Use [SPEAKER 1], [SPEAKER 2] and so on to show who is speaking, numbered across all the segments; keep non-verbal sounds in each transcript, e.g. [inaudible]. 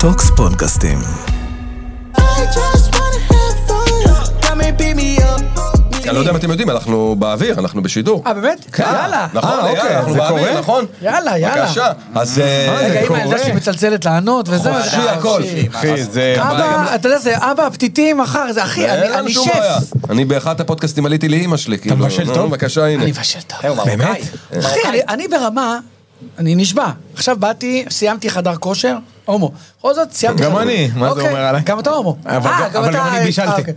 [SPEAKER 1] טוקס פודקאסטים.
[SPEAKER 2] אני לא יודע אם אתם יודעים, אנחנו באוויר, אנחנו בשידור.
[SPEAKER 3] אה, באמת?
[SPEAKER 2] כן.
[SPEAKER 3] יאללה.
[SPEAKER 2] נכון,
[SPEAKER 4] אה,
[SPEAKER 2] יאללה,
[SPEAKER 4] אוקיי,
[SPEAKER 2] אנחנו
[SPEAKER 4] זה
[SPEAKER 2] באוויר,
[SPEAKER 4] קורה?
[SPEAKER 2] נכון?
[SPEAKER 3] יאללה, יאללה.
[SPEAKER 2] בבקשה. אז... אה,
[SPEAKER 3] רגע, אמא ילדה
[SPEAKER 4] קורה.
[SPEAKER 3] שהיא מצלצלת לענות וזה.
[SPEAKER 2] חופשי
[SPEAKER 3] אה,
[SPEAKER 2] הכל.
[SPEAKER 3] חופשי.
[SPEAKER 4] אחי, זה...
[SPEAKER 3] אבא, אתה יודע, זה אבא, פתיתים, מחר, זה אחי,
[SPEAKER 2] אין
[SPEAKER 3] אני
[SPEAKER 2] לנו
[SPEAKER 3] אני
[SPEAKER 2] שום בעיה.
[SPEAKER 3] שף.
[SPEAKER 2] אני באחד הפודקאסטים עליתי לאימא שלי, כאילו.
[SPEAKER 4] מבשל
[SPEAKER 2] נו,
[SPEAKER 4] טוב?
[SPEAKER 2] בבקשה, הנה.
[SPEAKER 3] אני מבשל טוב.
[SPEAKER 4] באמת?
[SPEAKER 3] אחי, אני- אני ברמה, אני נשבע. עכשיו באתי, סיימתי חדר כושר, הומו. בכל זאת, סיימתי
[SPEAKER 4] גם
[SPEAKER 3] חדר-
[SPEAKER 4] אני, מה זה
[SPEAKER 3] אוקיי,
[SPEAKER 4] אומר עליי?
[SPEAKER 3] גם אתה הומו.
[SPEAKER 4] אבל
[SPEAKER 3] אה,
[SPEAKER 4] גם- אבל גם
[SPEAKER 3] אתה-
[SPEAKER 4] אני
[SPEAKER 3] אה,
[SPEAKER 4] בישלתי.
[SPEAKER 3] אוקיי.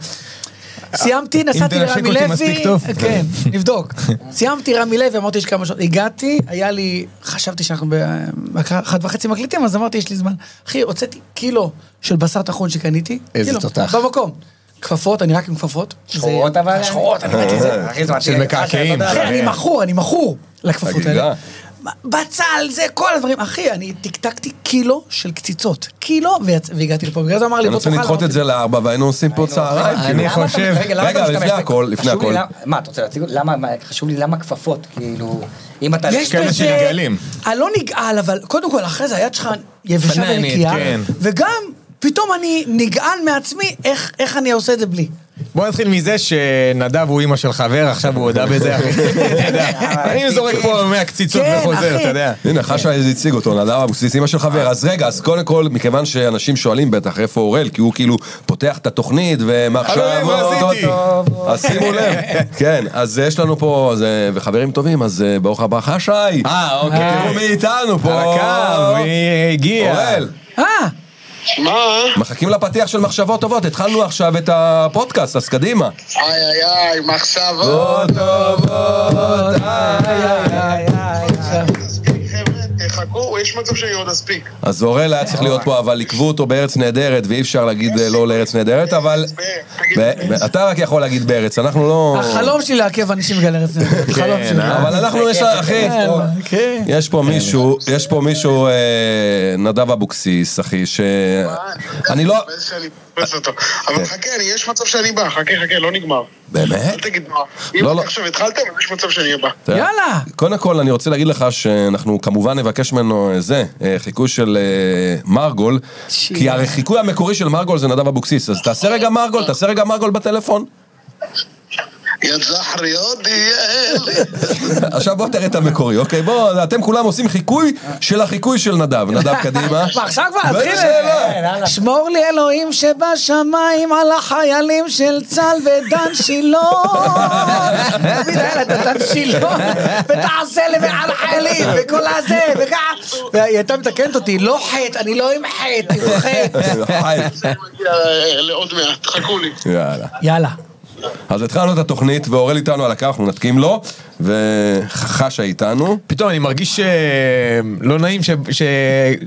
[SPEAKER 3] סיימתי, נסעתי
[SPEAKER 4] תנשק
[SPEAKER 3] לרמי
[SPEAKER 4] אותי
[SPEAKER 3] לוי,
[SPEAKER 4] מספיק טוב.
[SPEAKER 3] כן, נבדוק. סיימתי רמי לוי, אמרתי יש כמה שעות, הגעתי, היה לי, חשבתי שאנחנו באחת וחצי מקליטים, אז אמרתי יש לי זמן. אחי, הוצאתי קילו של בשר טחון שקניתי,
[SPEAKER 4] איזה
[SPEAKER 3] קילו,
[SPEAKER 4] תותח.
[SPEAKER 3] במקום. כפפות, אני רק עם כפפות. זה-
[SPEAKER 5] שחורות אבל?
[SPEAKER 3] שחורות, אני הבאתי את זה.
[SPEAKER 5] אחי, זה מתאים
[SPEAKER 4] אה, של
[SPEAKER 5] לך,
[SPEAKER 4] מקעקעים. אה.
[SPEAKER 5] אתה יודע.
[SPEAKER 3] אחי, אני מכור, אני מכור לכפפות
[SPEAKER 2] חגיגה.
[SPEAKER 3] האלה. בצל, זה, כל הדברים. אחי, אני טקטקתי קילו של קציצות. קילו, ויצ- והגעתי לפה. בגלל זה אמר לי,
[SPEAKER 2] היינו
[SPEAKER 3] בוא
[SPEAKER 2] צריכים
[SPEAKER 3] תאכל.
[SPEAKER 2] לדחות את זה לארבע, והיינו עושים פה צהריים.
[SPEAKER 4] אני
[SPEAKER 2] כאילו.
[SPEAKER 5] למה אתה-
[SPEAKER 4] חושב-
[SPEAKER 5] רגע, למה אתה
[SPEAKER 2] רגע,
[SPEAKER 5] משתמש
[SPEAKER 2] לפני
[SPEAKER 5] ב-
[SPEAKER 2] הכל, לפני
[SPEAKER 5] חשוב לי
[SPEAKER 2] הכל.
[SPEAKER 5] למה- מה, אתה רוצה להציג אותי? למה, מה, חשוב לי למה כפפות, כאילו, אם אתה...
[SPEAKER 3] יש
[SPEAKER 4] כאלה
[SPEAKER 3] בזה...
[SPEAKER 4] שנגאלים.
[SPEAKER 3] אני לא נגעל, אבל קודם כל, אחרי זה היד שלך יבשה
[SPEAKER 4] פננית,
[SPEAKER 3] ונקייה.
[SPEAKER 4] כן.
[SPEAKER 3] וגם, פתאום אני נגעל מעצמי, איך- איך אני עושה את זה בלי.
[SPEAKER 4] בוא נתחיל מזה שנדב הוא אימא של חבר, עכשיו הוא הודה בזה, אחי. אתה יודע, אני זורק פה 100 קציצות
[SPEAKER 3] כן,
[SPEAKER 4] וחוזר,
[SPEAKER 3] אחי.
[SPEAKER 4] אתה יודע.
[SPEAKER 2] הנה, חשה איזה הציג אותו, נדב אבוקסיס, אימא של חבר. אז רגע, אז קודם כל, מכיוון שאנשים שואלים בטח איפה אוראל, כי הוא כאילו פותח את התוכנית, ומעכשיו...
[SPEAKER 4] חברים, מה
[SPEAKER 2] או-
[SPEAKER 4] עשיתי?
[SPEAKER 2] אז שימו
[SPEAKER 4] [laughs]
[SPEAKER 2] לב. כן, אז יש לנו פה, אז, אה, וחברים טובים, אז אה, ברוך הבא, חשי.
[SPEAKER 4] אה,
[SPEAKER 2] תראו מי איתנו פה.
[SPEAKER 4] על הקו, מי הגיע?
[SPEAKER 2] אוראל,
[SPEAKER 3] אה,
[SPEAKER 6] שמע,
[SPEAKER 2] מחכים לפתיח של מחשבות טובות, התחלנו עכשיו את הפודקאסט, אז קדימה.
[SPEAKER 6] איי איי איי,
[SPEAKER 2] לא.
[SPEAKER 6] מחשבות.
[SPEAKER 4] אה,
[SPEAKER 6] מספיק חבר'ה, תחכו, יש מצב שאני עוד אספיק.
[SPEAKER 2] אז אוראל היה צריך להיות פה, אבל עיכבו אותו בארץ נהדרת, ואי אפשר להגיד אה, לא לארץ נהדרת, אבל...
[SPEAKER 6] תגיד,
[SPEAKER 2] ב- ב- אתה רק יכול להגיד בארץ, אנחנו לא...
[SPEAKER 3] החלום שלי לעכב אנשים בגלל ארץ נהדרת. החלום שלי.
[SPEAKER 4] אה?
[SPEAKER 2] אבל אנחנו יש לה, אחי,
[SPEAKER 3] כן,
[SPEAKER 2] פה-
[SPEAKER 3] כן.
[SPEAKER 2] יש פה מישהו, יש פה מישהו, אה, נדב אבוקסיס, אחי, ש...
[SPEAKER 6] מה,
[SPEAKER 2] אני לא... כן.
[SPEAKER 6] מתבאס שאני מבאס אותו. אבל חכה, אני- יש מצב שאני בא, חכה, חכה, לא נגמר.
[SPEAKER 2] באמת?
[SPEAKER 6] אל תגיד מה. אם
[SPEAKER 2] לא,
[SPEAKER 6] אתם
[SPEAKER 2] לא.
[SPEAKER 6] עכשיו התחלתם, אז יש מצב שאני אהיה בא.
[SPEAKER 3] יאללה.
[SPEAKER 2] קודם כל, אני רוצה להגיד לך שאנחנו כמובן נבקש ממנו אה, זה, אה, חיקוי של אה, מרגול,
[SPEAKER 3] שיט.
[SPEAKER 2] כי הרי חיקוי המקורי של מרגול זה נדב אבוקסיס, אז תעשה רגע מרגול, תעשה רגע מרגול בטלפון.
[SPEAKER 6] יא זחרי יודי, יא [laughs] אלי.
[SPEAKER 2] עכשיו בוא תראה את המקורי, אוקיי? בוא, אתם כולם עושים חיקוי של החיקוי של נדב. נדב, קדימה.
[SPEAKER 3] מה, עכשיו כבר אה,
[SPEAKER 2] ואין
[SPEAKER 3] נתחיל?
[SPEAKER 2] שאלה.
[SPEAKER 3] שמור לי אלוהים שבשמיים על החיילים של צה"ל ודן שילון. תמיד היה את הדן שילון, ותעשה לי מעל החיילים, וכל הזה, וככה. והיא הייתה מתקנת אותי, לא חטא, אני לא עם חטא, עם חטא.
[SPEAKER 2] חי.
[SPEAKER 6] אני מגיע אה, לעוד מעט, חכו לי.
[SPEAKER 2] יאללה.
[SPEAKER 3] יאללה.
[SPEAKER 2] אז התחלנו את התוכנית, ואורל איתנו על הקו, אנחנו מנתקים לו, וחשה איתנו.
[SPEAKER 4] פתאום אני מרגיש אה, לא נעים ש- ש-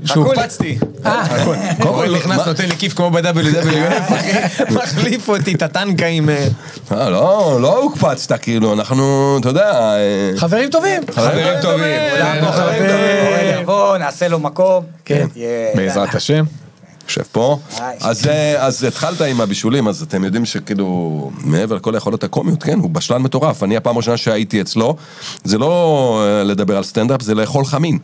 [SPEAKER 4] שהוקפצתי. הכל. קודם כל נכנס, נותן לי כיף כמו ב-WWF, אחי. מחליף אותי את הטנקה עם... אה,
[SPEAKER 2] אה, לא, לא הוקפצת, כאילו, אנחנו, אתה יודע... אה,
[SPEAKER 3] חברים טובים.
[SPEAKER 4] חברים טובים.
[SPEAKER 2] חברים
[SPEAKER 4] אנחנו חברים טובים.
[SPEAKER 5] אורן יבוא, נעשה לו מקום. כן.
[SPEAKER 4] אה, בעזרת השם. לא
[SPEAKER 2] יושב פה.
[SPEAKER 5] היי.
[SPEAKER 2] אז, אה, אז התחלת עם הבישולים, אז אתם יודעים שכאילו, מעבר לכל היכולות הקומיות, כן, הוא בשלן מטורף. אני הפעם הראשונה שהייתי אצלו, זה לא אה, לדבר על סטנדאפ, זה לאכול חמין.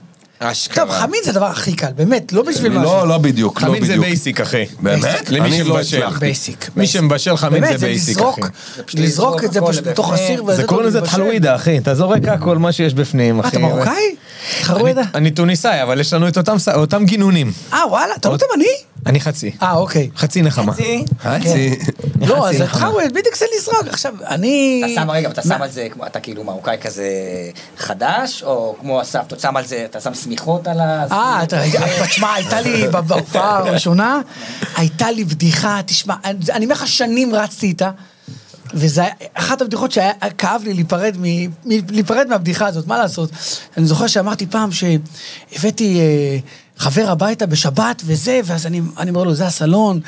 [SPEAKER 3] טוב, חמין זה הדבר הכי קל, באמת, לא בשביל משהו.
[SPEAKER 2] לא, לא בדיוק, לא
[SPEAKER 4] חמין זה
[SPEAKER 2] בדיוק.
[SPEAKER 4] בייסיק, אחי.
[SPEAKER 2] באמת?
[SPEAKER 4] למי
[SPEAKER 2] אני לא
[SPEAKER 4] שמבשל.
[SPEAKER 2] הצלחתי.
[SPEAKER 3] בייסיק.
[SPEAKER 4] מי שמבשל חמין זה
[SPEAKER 3] באמת,
[SPEAKER 4] בייסיק,
[SPEAKER 3] לזרוק,
[SPEAKER 4] אחי.
[SPEAKER 3] לזרוק את זה
[SPEAKER 5] הכל
[SPEAKER 3] פשוט בתוך
[SPEAKER 5] לבפנים.
[SPEAKER 3] הסיר. וזה
[SPEAKER 4] זה קוראים לזה
[SPEAKER 3] טוב,
[SPEAKER 4] תחלואידה, אחי. אתה זורק הכל מה שיש בפנים,
[SPEAKER 3] אה,
[SPEAKER 4] אחי.
[SPEAKER 3] אתה מרוקאי? תחלואידה.
[SPEAKER 4] אני טוניסאי, אבל יש לנו את אותם ס- אותם גינונים.
[SPEAKER 3] אה, וואלה, אתה לא תימני?
[SPEAKER 4] אני חצי.
[SPEAKER 3] אה, אוקיי.
[SPEAKER 4] חצי נחמה.
[SPEAKER 2] חצי.
[SPEAKER 3] לא, אז
[SPEAKER 4] חצי
[SPEAKER 3] התחרות, בדיוק זה לזרוק. עכשיו, אני...
[SPEAKER 4] אה,
[SPEAKER 5] אתה שם רגע, אתה שם על זה, כמו- אתה כאילו מרוקאי כזה חדש, או כמו אסף, אתה שם על זה, אתה שם שמיכות על ה...
[SPEAKER 3] אה, אתה- תשמע, הייתה לי בהופעה הראשונה, הייתה לי בדיחה, תשמע, אני אני אומר לך, שנים רצתי איתה, וזה היה- אחת הבדיחות שכאב לי להיפרד מ- מ- להיפרד מהבדיחה הזאת, מה לעשות? אני זוכר שאמרתי פעם שהבאתי... אה, חבר הביתה בשבת וזה, ואז אני, אני אומר לו, זה הסלון,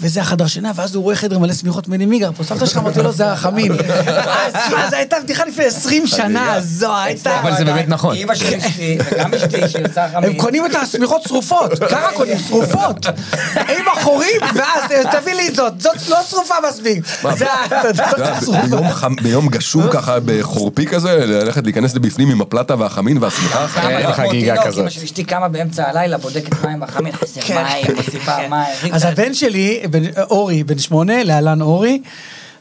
[SPEAKER 3] וזה החדר שינה, ואז הוא רואה חדר מלא שמיכות מני גר פה, סבתא שלך אמרתי לו, זה החמין. אז אז הייתה בדיחה לפני 20 שנה, זו הייתה...
[SPEAKER 4] אבל זה באמת נכון.
[SPEAKER 5] אה, אימא של אשתי, וגם אשתי שעושה חמין.
[SPEAKER 3] הם קונים את השמיכות שרופות, ככה קונים שרופות, עם החורים, ואז אה, תביא לי את זאת, זאת לא שרופה מספיק. [laughs] זה ה-
[SPEAKER 2] אתה יודע, ב- ביום חם- ביום גשום ככה, בחורפי כזה, ללכת להיכנס לבפנים עם הפלטה והחמין והשמיכה.
[SPEAKER 5] כמה-
[SPEAKER 4] אין
[SPEAKER 5] כמו
[SPEAKER 4] חגיגה
[SPEAKER 5] תינוק,
[SPEAKER 4] כזאת.
[SPEAKER 5] אמא של אשתי קמה באמצע הלילה בודקת מים בחמין, חסר
[SPEAKER 3] כן.
[SPEAKER 5] מים, מוסיפה מים.
[SPEAKER 3] אז הבן שלי, בן- אורי, בן שמונה, להלן אורי,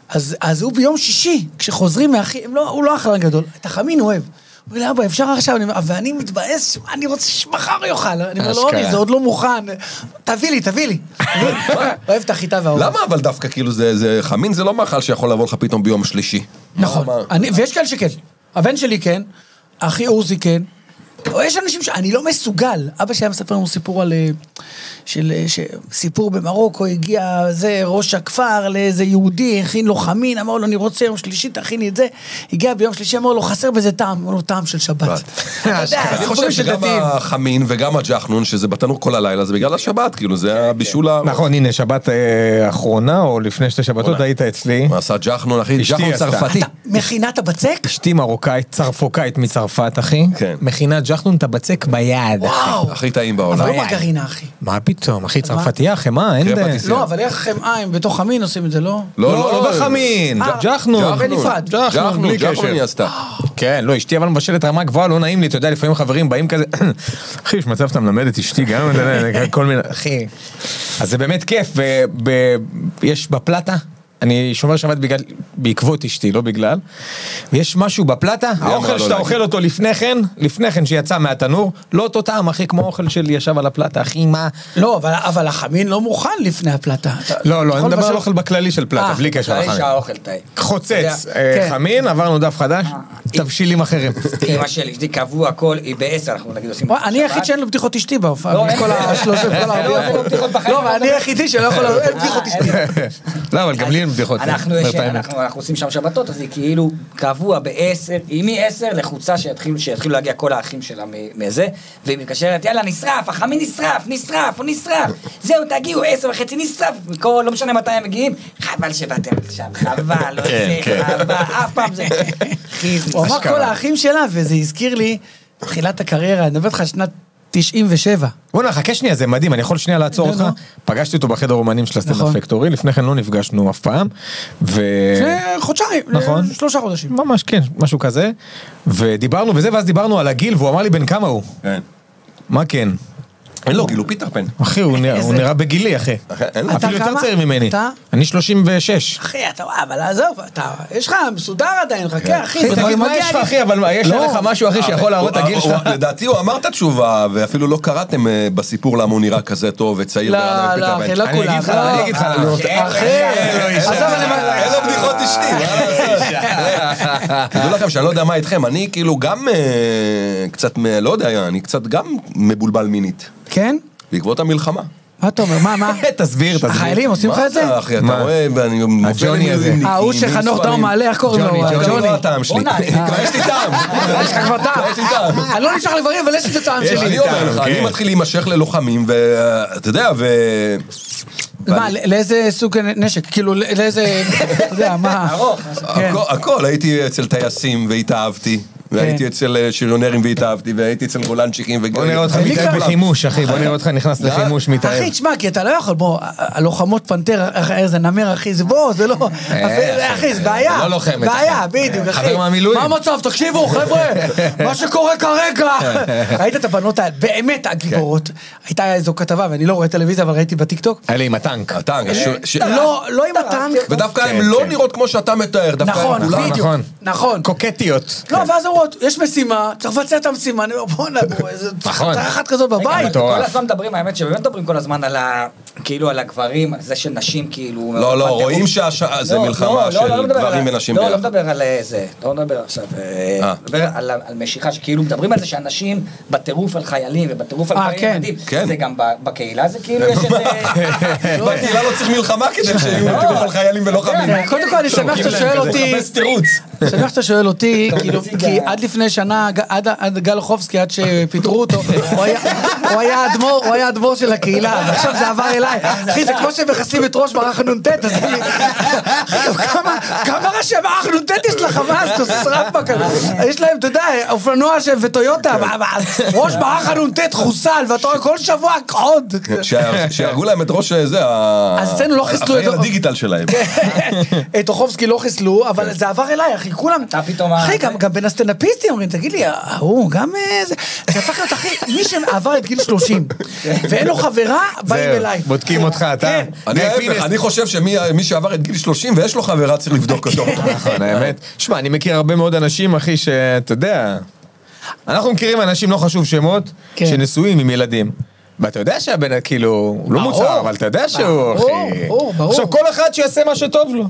[SPEAKER 3] אז, אז הוא ביום שישי, כשחוזרים מהכי, הם לא, הוא לא אכלן גדול, את החמין הוא אוהב. הוא אומר לי, אבא, אפשר עכשיו? אני, אומר, ואני מתבאס, שמע, אני רוצה שמחר יאכל. אני אומר לו,
[SPEAKER 4] אשכרה.
[SPEAKER 3] אורי, זה עוד לא מוכן. תביא לי, תביא לי. אוהב את החיטה והאור.
[SPEAKER 2] למה אבל דווקא כאילו זה, זה חמין זה לא מאכל שיכול לבוא לך פתאום ביום שלישי.
[SPEAKER 3] נכון.
[SPEAKER 2] למה?
[SPEAKER 3] אני, ויש כאלה שכן. הבן שלי כן, אחי עוזי כן. או יש אנשים שאני לא מסוגל. אבא שלי היה מספר לנו סיפור על... אה, של, אה, ש, סיפור במרוקו, הגיע זה ראש הכפר לאיזה יהודי, הכין לו חמין, אמר לו, אני רוצה יום שלישי, תכין לי את זה. הגיע ביום שלישי, אמר לו, חסר בזה טעם, אמר לו, טעם של
[SPEAKER 4] לא,
[SPEAKER 3] שבת. אתה יודע,
[SPEAKER 2] אני חושב
[SPEAKER 3] סיפורים של
[SPEAKER 2] שגם
[SPEAKER 3] דתיים.
[SPEAKER 2] החמין וגם הג'חנון, שזה בתנור כל הלילה, זה בגלל השבת, כאילו, זה הבישול ה...
[SPEAKER 4] נכון, הנה, שבת אה, אחרונה, או לפני שתי שבתות,
[SPEAKER 2] אחרונה.
[SPEAKER 4] היית אצלי.
[SPEAKER 2] מה עשה ג'חנון, אחי?
[SPEAKER 4] אשתי
[SPEAKER 2] ג'חנון
[SPEAKER 4] עשתה.
[SPEAKER 2] צרפתי.
[SPEAKER 3] אתה מכינת הבצק?
[SPEAKER 4] אשתי מרוקאית, צרפוקאית מצרפת, אחי.
[SPEAKER 2] כן.
[SPEAKER 4] מכינה ג'חנון את הבצק ביד.
[SPEAKER 3] וואו.
[SPEAKER 2] הכי טעים
[SPEAKER 3] אבל
[SPEAKER 2] בעולם.
[SPEAKER 3] לא מרגרינה, אחי.
[SPEAKER 4] מה פתאום, אחי, צרפתייה, חמאה, אין...
[SPEAKER 2] קרפ
[SPEAKER 4] ב-
[SPEAKER 2] פטיסייה.
[SPEAKER 3] לא, אבל איך חמאה, הם בתוך חמין עושים את זה, לא?
[SPEAKER 4] לא, לא בחמין,
[SPEAKER 3] אה,
[SPEAKER 4] ג'חנון.
[SPEAKER 3] ג'חנון. בנפרד.
[SPEAKER 4] ג'חנון,
[SPEAKER 2] ג'חנון,
[SPEAKER 4] בלי
[SPEAKER 2] ג'חנון היא
[SPEAKER 4] קשר.
[SPEAKER 2] עשתה.
[SPEAKER 4] כן, לא, אשתי אבל מבשלת רמה גבוהה, לא נעים לי, אתה יודע, לפעמים חברים באים כזה, [clears throat] אחי, יש מצב שאתה מלמד את אשתי גם, אתה יודע, כל מיני, אחי. אז זה באמת כיף, ויש בפלטה. אני שומר שבת בגלל, בעקבות אשתי, לא בגלל. ויש משהו בפלטה,
[SPEAKER 2] אמרה
[SPEAKER 4] האוכל
[SPEAKER 2] לא
[SPEAKER 4] שאתה
[SPEAKER 2] להגיד.
[SPEAKER 4] אוכל אותו לפני כן, לפני כן שיצא מהתנור, לא אותו טעם, אחי, כמו האוכל שלי ישב על הפלטה, אחי, מה...
[SPEAKER 3] לא, אבל, אבל החמין לא מוכן לפני הפלטה. אתה-
[SPEAKER 4] לא, לא, אני
[SPEAKER 3] יכול
[SPEAKER 4] מדבר על
[SPEAKER 3] לבשל-
[SPEAKER 4] אוכל בכללי של פלטה,
[SPEAKER 3] אה,
[SPEAKER 4] בלי קשר
[SPEAKER 5] אחרי
[SPEAKER 4] לחמין.
[SPEAKER 5] שהאוכל טעים.
[SPEAKER 4] חוצץ,
[SPEAKER 3] אתה
[SPEAKER 4] אה,
[SPEAKER 3] יודע, כן. אה,
[SPEAKER 4] חמין, עברנו דף חדש, תבשילים
[SPEAKER 3] [laughs]
[SPEAKER 4] אחרים.
[SPEAKER 5] אמא שלי, אשתי קבעו הכל, היא בעשר, אנחנו נגיד עושים...
[SPEAKER 3] וואי, כן. אני היחיד שאין לו בדיחות אשתי בהופעה,
[SPEAKER 5] לא,
[SPEAKER 3] מכל
[SPEAKER 5] אין.
[SPEAKER 3] השלושה, כל
[SPEAKER 5] לא, אין לו בדיחות
[SPEAKER 3] הערבים.
[SPEAKER 5] בחיים.
[SPEAKER 3] לא, אבל אני היחידי שלא יכול, אין בדיחות
[SPEAKER 5] אה,
[SPEAKER 3] אשתי.
[SPEAKER 5] אין.
[SPEAKER 4] לא, אבל גם לי אין בדיחות. אה,
[SPEAKER 5] אנחנו
[SPEAKER 4] אומר
[SPEAKER 5] יש-
[SPEAKER 4] את האמת.
[SPEAKER 5] אנחנו אנחנו עושים שם שבתות, אז היא כאילו קבוע בעשר, היא מעשר לחוצה שיתחילו שיתחילו להגיע כל האחים שלה מ- מזה, והיא מתקשרת, יאללה, נשרף, החמי נשרף, נשרף, הוא נשרף, זהו, תגיעו, עשר וחצי נשרף, מכל, לא משנה מתי הם מגיעים, חבל שבאתם עכשיו, חבל, לא
[SPEAKER 4] כן,
[SPEAKER 5] זה, חבל, אף פעם זה... חיז,
[SPEAKER 3] הוא אמר
[SPEAKER 4] אשכרה.
[SPEAKER 3] כל האחים שלה, וזה הזכיר לי, תחילת הקריירה, אני מדבר איתך על שנת 97.
[SPEAKER 4] בוא'נה, חכה שנייה, זה מדהים, אני יכול שנייה לעצור
[SPEAKER 3] נו,
[SPEAKER 4] אותך?
[SPEAKER 3] נו.
[SPEAKER 4] פגשתי אותו בחדר אומנים של הסטנדאפ
[SPEAKER 3] לא, נכון.
[SPEAKER 4] פקטורי, לפני כן לא נפגשנו אף פעם, ו...
[SPEAKER 3] זה חודשיים,
[SPEAKER 4] כן. נכון.
[SPEAKER 3] שלושה חודשים.
[SPEAKER 4] ממש כן, משהו כזה, ודיברנו וזה, ואז דיברנו על הגיל, והוא אמר לי בן כמה הוא.
[SPEAKER 2] כן.
[SPEAKER 4] מה כן?
[SPEAKER 2] אין לו גילו פיטר פן.
[SPEAKER 4] אחי, הוא נראה- הוא
[SPEAKER 3] איזה-
[SPEAKER 4] נראה בגילי, אחי.
[SPEAKER 2] אחי, אין לו.
[SPEAKER 3] אתה
[SPEAKER 4] אפילו יותר
[SPEAKER 3] כמה?
[SPEAKER 4] צעיר ממני.
[SPEAKER 3] אתה?
[SPEAKER 4] אני 36.
[SPEAKER 3] אחי, אתה, וואי, אבל עזוב, אתה, יש לך מסודר עדיין, חכה, אחי,
[SPEAKER 4] אחי,
[SPEAKER 3] זה
[SPEAKER 4] תגיד,
[SPEAKER 3] כבר
[SPEAKER 4] מה
[SPEAKER 3] מגיע
[SPEAKER 4] יש לך,
[SPEAKER 3] לי.
[SPEAKER 4] אחי, אבל יש
[SPEAKER 3] לא.
[SPEAKER 4] עליך משהו, אחי, שיכול להראות
[SPEAKER 3] אה,
[SPEAKER 4] את
[SPEAKER 2] הוא-
[SPEAKER 4] הגיל
[SPEAKER 2] הוא-
[SPEAKER 4] שלך?
[SPEAKER 2] לדעתי הוא אמר את התשובה, ואפילו לא קראתם אה, בסיפור למה הוא נראה כזה טוב וצעיר.
[SPEAKER 3] לא,
[SPEAKER 2] ורע לפיטר
[SPEAKER 3] לא,
[SPEAKER 2] פן.
[SPEAKER 3] אחי, לא
[SPEAKER 4] אני
[SPEAKER 3] כולם.
[SPEAKER 4] אגיד לך,
[SPEAKER 3] לא.
[SPEAKER 4] אני אגיד לך, לא. [laughs]
[SPEAKER 3] אחי, עזוב, אני...
[SPEAKER 2] אין לו בדיחות אשתי, מה לעשות? תדעו לכם שאני לא יודע מה איתכם, אני כאילו גם אה, קצת, מ- לא יודע, אני קצת גם מבולבל מינית,
[SPEAKER 3] כן?
[SPEAKER 2] בעקבות המלחמה.
[SPEAKER 3] מה אתה אומר? מה, מה?
[SPEAKER 4] תסביר, תסביר.
[SPEAKER 3] החיילים אה, עושים לך
[SPEAKER 2] מה
[SPEAKER 3] את זה?
[SPEAKER 2] אתה, אחי,
[SPEAKER 4] מה?
[SPEAKER 2] אתה רואה, ואני מופיע
[SPEAKER 4] הג'וני הזה.
[SPEAKER 2] עם
[SPEAKER 3] אה, הוא שחנוך דאום מעלה, איך קוראים לו?
[SPEAKER 2] ג'וני, ג'וני.
[SPEAKER 3] ג'וני.
[SPEAKER 2] לא הטעם שלי.
[SPEAKER 5] בוא'נה, אני-
[SPEAKER 2] כבר יש לי טעם.
[SPEAKER 3] יש
[SPEAKER 2] [laughs]
[SPEAKER 3] לך כבר טעם.
[SPEAKER 2] יש לי טעם.
[SPEAKER 3] אני לא נמשך לדברים, אבל יש לי את הטעם
[SPEAKER 2] יש
[SPEAKER 3] שלי.
[SPEAKER 2] אני אומר
[SPEAKER 4] טעם,
[SPEAKER 2] לך,
[SPEAKER 4] כן.
[SPEAKER 2] אני מתחיל להימשך ללוחמים, ואתה יודע, ו...
[SPEAKER 3] מה,
[SPEAKER 2] ואני-
[SPEAKER 3] לא- לאיזה סוג נשק? כאילו, לא- לאיזה... אתה יודע,
[SPEAKER 4] [laughs]
[SPEAKER 3] מה...
[SPEAKER 5] ארוך.
[SPEAKER 3] כן.
[SPEAKER 2] הכל, הכל, הייתי אצל טייסים והתאהבתי, והייתי אצל אה, שריונרים והתאהבתי, והייתי אצל אה, גולנצ'יקים וגולים.
[SPEAKER 4] בוא נראה אותך
[SPEAKER 3] אני
[SPEAKER 4] מתאהב
[SPEAKER 3] גם-
[SPEAKER 4] בחימוש, אחי, בוא נראה אותך נכנס לחימוש מתאהב.
[SPEAKER 3] אחי, תשמע, כי אתה לא יכול, בוא, הלוחמות פנתר, אח- איזה נמר, אחי, זה בוא, זה לא...
[SPEAKER 4] אה,
[SPEAKER 3] אחי, זה בעיה.
[SPEAKER 4] לא לוחמת,
[SPEAKER 3] בעיה, בדיוק, אחי.
[SPEAKER 4] חבר מהמילואים.
[SPEAKER 3] מה המצב? תקשיבו,
[SPEAKER 4] [laughs]
[SPEAKER 3] חבר'ה, מה שקורה כרגע. ראית את הבנות, ה- באמת
[SPEAKER 4] כן.
[SPEAKER 3] הגיבורות. הייתה איזו כתבה, ואני לא רואה טלוויזיה, אבל ראיתי בטיקטוק.
[SPEAKER 4] אלה עם הטנק.
[SPEAKER 2] הטנק, הש- ש- אה,
[SPEAKER 3] לא,
[SPEAKER 4] [laughs]
[SPEAKER 3] לא עם הטנק.
[SPEAKER 2] ודווקא
[SPEAKER 4] כן,
[SPEAKER 2] הן לא
[SPEAKER 4] כן.
[SPEAKER 2] נראות כמו שאתה מתאר, דווקא
[SPEAKER 3] נכון,
[SPEAKER 2] הן כולן-
[SPEAKER 4] בדיוק.
[SPEAKER 3] בדיוק.
[SPEAKER 4] נכון.
[SPEAKER 3] נכון.
[SPEAKER 4] קוקטיות. כן.
[SPEAKER 3] לא, ואז אומרות, יש משימה, צריך לבצע את המשימה, אני אומר, בואנה, בוא, איזה- צריך
[SPEAKER 4] נכון.
[SPEAKER 3] צריך אחת כזאת
[SPEAKER 5] רגע, אבל
[SPEAKER 3] בבית.
[SPEAKER 4] מטורף.
[SPEAKER 5] כל הזמן מדברים, האמת שבאמת מדברים כל הזמן על ה... כאילו על הגברים, על זה של נשים כאילו...
[SPEAKER 2] לא, לא,
[SPEAKER 5] פנתרות.
[SPEAKER 2] רואים שזה
[SPEAKER 5] לא, לא,
[SPEAKER 2] מלחמה
[SPEAKER 5] לא, לא
[SPEAKER 2] של
[SPEAKER 5] מדבר
[SPEAKER 2] גברים
[SPEAKER 5] על-
[SPEAKER 2] ונשים
[SPEAKER 5] לא, לא
[SPEAKER 2] ביחד.
[SPEAKER 5] מדבר על אה, זה, לא מדבר עכשיו, אה,
[SPEAKER 2] אה.
[SPEAKER 5] מדבר על על משיכה, שכאילו מדברים על זה שאנשים בטירוף על חיילים ובטירוף על
[SPEAKER 3] אה,
[SPEAKER 5] גברים
[SPEAKER 3] כן.
[SPEAKER 5] ילדים,
[SPEAKER 2] כן.
[SPEAKER 5] זה גם ב- בקהילה זה כאילו יש איזה...
[SPEAKER 2] [laughs] בקהילה לא צריך מלחמה כדי שיהיו טירוף על חיילים ולוחמים.
[SPEAKER 3] כן, קודם כל, אני שמח שאתה שואל לא. אותי,
[SPEAKER 2] מחפש תירוץ.
[SPEAKER 3] שמח שאתה שואל אותי, כאילו,
[SPEAKER 5] נציג
[SPEAKER 3] כי
[SPEAKER 5] ה-
[SPEAKER 3] עד לפני שנה, ג- עד- עד גל חובסקי, עד שפיטרו אותו, הוא היה- הוא היה האדמו"ר, הוא היה האדמו"ר של הקהילה, אז עכשיו זה עבר אליי. אחי, זה כמו שמכסים את ראש מערך הנ"ט, אז אני... כמה- כמה ראשי מערך נ"ט יש לך, מה, אז תוסרפה כזה. יש להם, אתה יודע, אופנוע ש- וטויוטה, מה- מה, אז ראש מערך הנ"ט חוסל, ואתה רואה כל שבוע עוד.
[SPEAKER 2] כן. שה- שהרגו להם את ראש אה, זה,
[SPEAKER 3] אז אצלנו לא חיסלו
[SPEAKER 2] את...
[SPEAKER 3] את- כן.
[SPEAKER 2] הדיגיטל שלהם.
[SPEAKER 3] [laughs] את אוחובסקי לא חיסלו, אבל זה עבר אליי, אחי, כולם...
[SPEAKER 5] אתה פתאום
[SPEAKER 3] אחי,
[SPEAKER 5] ה-
[SPEAKER 3] גם גם בין הסטנדאפיסטים אומרים, תגיד לי, ההוא גם אה, זה... זה הפך להיות, אחי, מי שעבר את גיל 30 ואין לו חברה, באים
[SPEAKER 4] זהו,
[SPEAKER 3] אליי.
[SPEAKER 4] בודקים אותך, אתה.
[SPEAKER 3] כן.
[SPEAKER 2] אני
[SPEAKER 4] דיר
[SPEAKER 2] ההפך,
[SPEAKER 4] פינס.
[SPEAKER 2] אני חושב שמי מי שעבר את גיל 30 ויש לו חברה צריך לבדוק
[SPEAKER 3] [laughs]
[SPEAKER 2] אותו.
[SPEAKER 3] כן.
[SPEAKER 4] [laughs] נכון, האמת. שמע, אני מכיר הרבה מאוד אנשים, אחי, שאתה יודע... אנחנו מכירים אנשים, לא חשוב שמות,
[SPEAKER 3] כן.
[SPEAKER 4] שנשואים עם ילדים. ואתה יודע שהבן, כאילו, הוא לא
[SPEAKER 3] ברור.
[SPEAKER 4] מוצר, אבל אתה יודע שהוא, אחי...
[SPEAKER 3] ברור, ברור, ברור.
[SPEAKER 4] עכשיו, כל אחד שיעשה מה שטוב לו.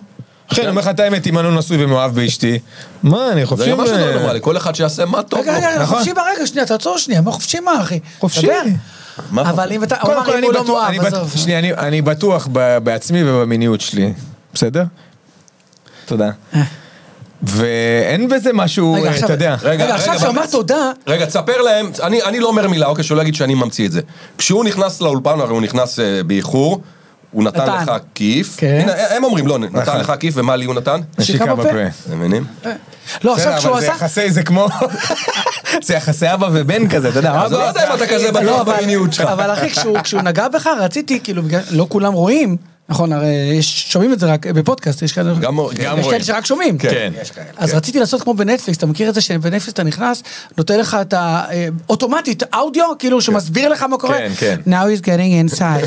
[SPEAKER 4] אחי, אני אומר לך את האמת, אם אני לא נשוי ומאוהב באשתי, מה, אני חופשי...
[SPEAKER 2] זה ממש
[SPEAKER 4] ב-
[SPEAKER 2] לא נורמלי, כל אחד שיעשה מה טוב
[SPEAKER 3] רגע,
[SPEAKER 2] לו.
[SPEAKER 3] רגע, רגע,
[SPEAKER 4] נכון.
[SPEAKER 3] חופשי ברגע, שנייה, תעצור שנייה, מה חופשי מה, אחי?
[SPEAKER 4] חופשי.
[SPEAKER 3] דבר.
[SPEAKER 2] מה?
[SPEAKER 3] אבל אם אתה, הוא
[SPEAKER 4] קודם
[SPEAKER 3] אמר,
[SPEAKER 4] כל,
[SPEAKER 3] אם
[SPEAKER 4] אני
[SPEAKER 3] הוא לא
[SPEAKER 4] בטוח,
[SPEAKER 3] מואב,
[SPEAKER 4] אני
[SPEAKER 3] עזוב.
[SPEAKER 4] בטוח, שנייה, אני- אני בטוח ב- בעצמי ובמיניות שלי, בסדר? תודה. ואין בזה משהו,
[SPEAKER 3] רגע,
[SPEAKER 4] אה,
[SPEAKER 3] עכשיו-
[SPEAKER 4] אתה יודע.
[SPEAKER 3] רגע, עכשיו
[SPEAKER 2] רגע,
[SPEAKER 3] שאמר
[SPEAKER 2] רגע.
[SPEAKER 3] תודה,
[SPEAKER 2] רגע, תספר להם, אני, אני לא אומר מילה, אוקיי, שלא יגיד שאני ממציא את זה. כשהוא נכנס לאולפן, הרי הוא נכנס אה, באיחור, הוא נתן,
[SPEAKER 3] נתן.
[SPEAKER 2] לך כיף.
[SPEAKER 3] כן.
[SPEAKER 2] הנה, הם אומרים, לא, נתן
[SPEAKER 4] נכון.
[SPEAKER 2] לך כיף, ומה לי הוא נתן?
[SPEAKER 4] נשיקה
[SPEAKER 3] נשיקה בפה.
[SPEAKER 4] בפה.
[SPEAKER 2] אתם מבינים?
[SPEAKER 3] לא, עכשיו
[SPEAKER 4] בסדר,
[SPEAKER 3] כשהוא
[SPEAKER 4] אבל זה
[SPEAKER 3] עשה...
[SPEAKER 4] יחסי, זה כמו... [laughs] זה יחסי אבא ובן כזה, אתה
[SPEAKER 3] אה,
[SPEAKER 4] יודע,
[SPEAKER 2] אז לא
[SPEAKER 4] אבא...
[SPEAKER 2] יודע אם אתה כזה
[SPEAKER 3] לא,
[SPEAKER 2] בטוח
[SPEAKER 3] אבל-
[SPEAKER 2] במיניות שלך.
[SPEAKER 3] אבל אחי, כשהוא- כשהוא נגע בך, רציתי, כאילו, בגלל- לא כולם רואים, נכון, הרי יש- שומעים את זה רק בפודקאסט, יש כאלה...
[SPEAKER 2] גם
[SPEAKER 4] גם
[SPEAKER 3] יש
[SPEAKER 4] רואים.
[SPEAKER 3] כאלה שרק שומעים.
[SPEAKER 4] כן.
[SPEAKER 5] יש כאלה.
[SPEAKER 3] אז רציתי לעשות כמו בנטפליקס, אתה מכיר את זה שבנטפליקס אתה נכנס, נותן לך את ה... אה, אוטומטית, אודיו, כאילו שמסביר לך מה קורה.
[SPEAKER 4] כן, כן.
[SPEAKER 3] Now he's getting inside.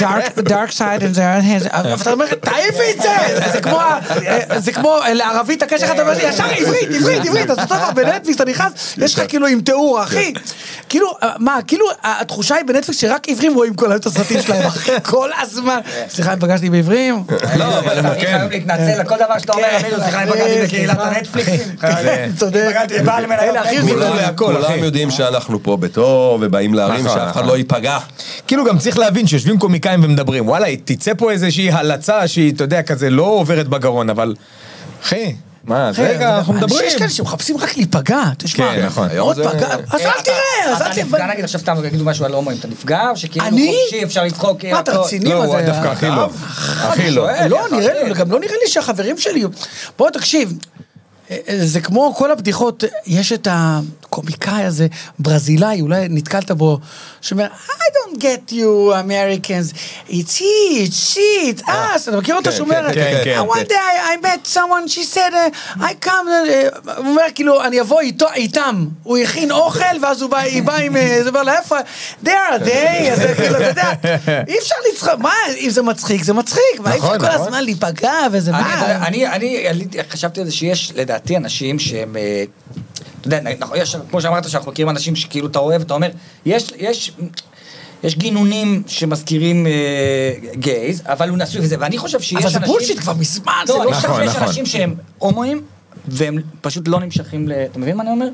[SPEAKER 3] dark, dark side in there. His... אבל אתה אומר, תעיפי את זה! זה כמו, ה- אה, זה כמו אה, לערבית, הקשר לך, אתה אומר לי, ישר עברית, עברית, עברית, אז אותו דבר בנטפליקס, אתה נכנס, יש לך כאילו עם תיאור, אחי. כאילו, אה, מה, כאילו, ה- התחושה היא בנטפליקס שרק עיוורים רואים כל היום את הסרטים שלהם, אחי, כל הזמן. סליחה, פגשתי בעיוורים.
[SPEAKER 4] לא, אבל הם
[SPEAKER 5] אני
[SPEAKER 4] כן.
[SPEAKER 5] חייב להתנצל על כל דבר שאתה אומר, אבינו, סליחה, אני פגעתי בקהילת הנטפליקסים.
[SPEAKER 3] צודק.
[SPEAKER 5] פגעתי בעל מניות
[SPEAKER 3] אלה הכי
[SPEAKER 5] נטפליקס.
[SPEAKER 4] זה
[SPEAKER 2] כולם,
[SPEAKER 4] להכל,
[SPEAKER 2] כולם
[SPEAKER 4] אחי.
[SPEAKER 2] יודעים שאנחנו פה בטוב, ובאים להרים,
[SPEAKER 4] נכון,
[SPEAKER 2] שאף אחד
[SPEAKER 4] נכון.
[SPEAKER 2] לא ייפגע.
[SPEAKER 4] כאילו גם צריך להבין שיושבים קומיקאים ומדברים, וואלה, תצא פה איזושהי הלצה שהיא, אתה יודע, כזה לא עוברת בגרון, אבל... אחי, מה,
[SPEAKER 3] אחי,
[SPEAKER 4] רגע, אנחנו
[SPEAKER 3] אנשים-
[SPEAKER 4] מדברים. אה,
[SPEAKER 3] יש כאלה שמחפשים רק להיפגע, תשמע.
[SPEAKER 4] כן, נכון.
[SPEAKER 2] היום
[SPEAKER 3] עוד
[SPEAKER 2] זה-
[SPEAKER 3] פגע, אז אל תראה, אז
[SPEAKER 5] אה, אתה
[SPEAKER 3] אל
[SPEAKER 5] נפגע,
[SPEAKER 3] תראה.
[SPEAKER 5] נגיד עכשיו סתם יגידו משהו על הומואים, אתה נפגע, או שכאילו
[SPEAKER 3] אני?
[SPEAKER 5] חופשי, אפשר לצחוק,
[SPEAKER 3] מה, אתה
[SPEAKER 5] אוקיי, הכל?
[SPEAKER 3] רציני?
[SPEAKER 4] לא,
[SPEAKER 3] מה
[SPEAKER 4] הוא
[SPEAKER 3] זה-
[SPEAKER 4] דווקא הכי לא. הכי לא.
[SPEAKER 5] שואל.
[SPEAKER 3] לא,
[SPEAKER 5] יפה,
[SPEAKER 3] נראה לי,
[SPEAKER 5] כן.
[SPEAKER 3] גם לא נראה לי שהחברים שלי... בוא, תקשיב, אה, אה, זה כמו כל הבדיחות, אה, יש את הקומיקאי הזה, ברזילאי, אולי נתקלת בו, שאומר, I don't get you Americans, it's it, shit, us, אתה מכיר אותו
[SPEAKER 2] כן,
[SPEAKER 3] שאומר,
[SPEAKER 2] כן, כן, כן,
[SPEAKER 3] one
[SPEAKER 2] כן.
[SPEAKER 3] day I met someone, she said, uh, I come, uh, הוא אומר, כאילו, אני אבוא איתו, איתם, הוא הכין אוכל, ואז הוא בא, היא באה עם, אה, זה אומר לה, איפה, they are they, אז זה כאילו, אתה יודע, אי אפשר לצחוק, מה, אם זה מצחיק, זה מצחיק, מה, אי אפשר
[SPEAKER 4] נכון,
[SPEAKER 3] כל
[SPEAKER 4] נכון.
[SPEAKER 3] הזמן להיפגע, וזה
[SPEAKER 5] אני- אתה יודע,
[SPEAKER 3] מה,
[SPEAKER 5] אני- אני עליתי- חשבתי על זה שיש לדעתי אנשים שהם... אה, אתה יודע, נכון, יש, כמו שאמרת, שאנחנו מכירים אנשים שכאילו אתה אוהב, אתה אומר, יש, יש, יש גינונים שמזכירים אה, גייז, אבל הוא נשוי וזה, ואני חושב שיש
[SPEAKER 3] אבל זה
[SPEAKER 5] אנשים...
[SPEAKER 3] בולשיט כבר מזמן, זה
[SPEAKER 5] לא, אני
[SPEAKER 3] לא
[SPEAKER 5] חושב
[SPEAKER 4] נכון,
[SPEAKER 5] שיש
[SPEAKER 4] נכון.
[SPEAKER 5] אנשים שהם הומואים, והם פשוט לא נמשכים ל... אתה מבין מה אני אומר?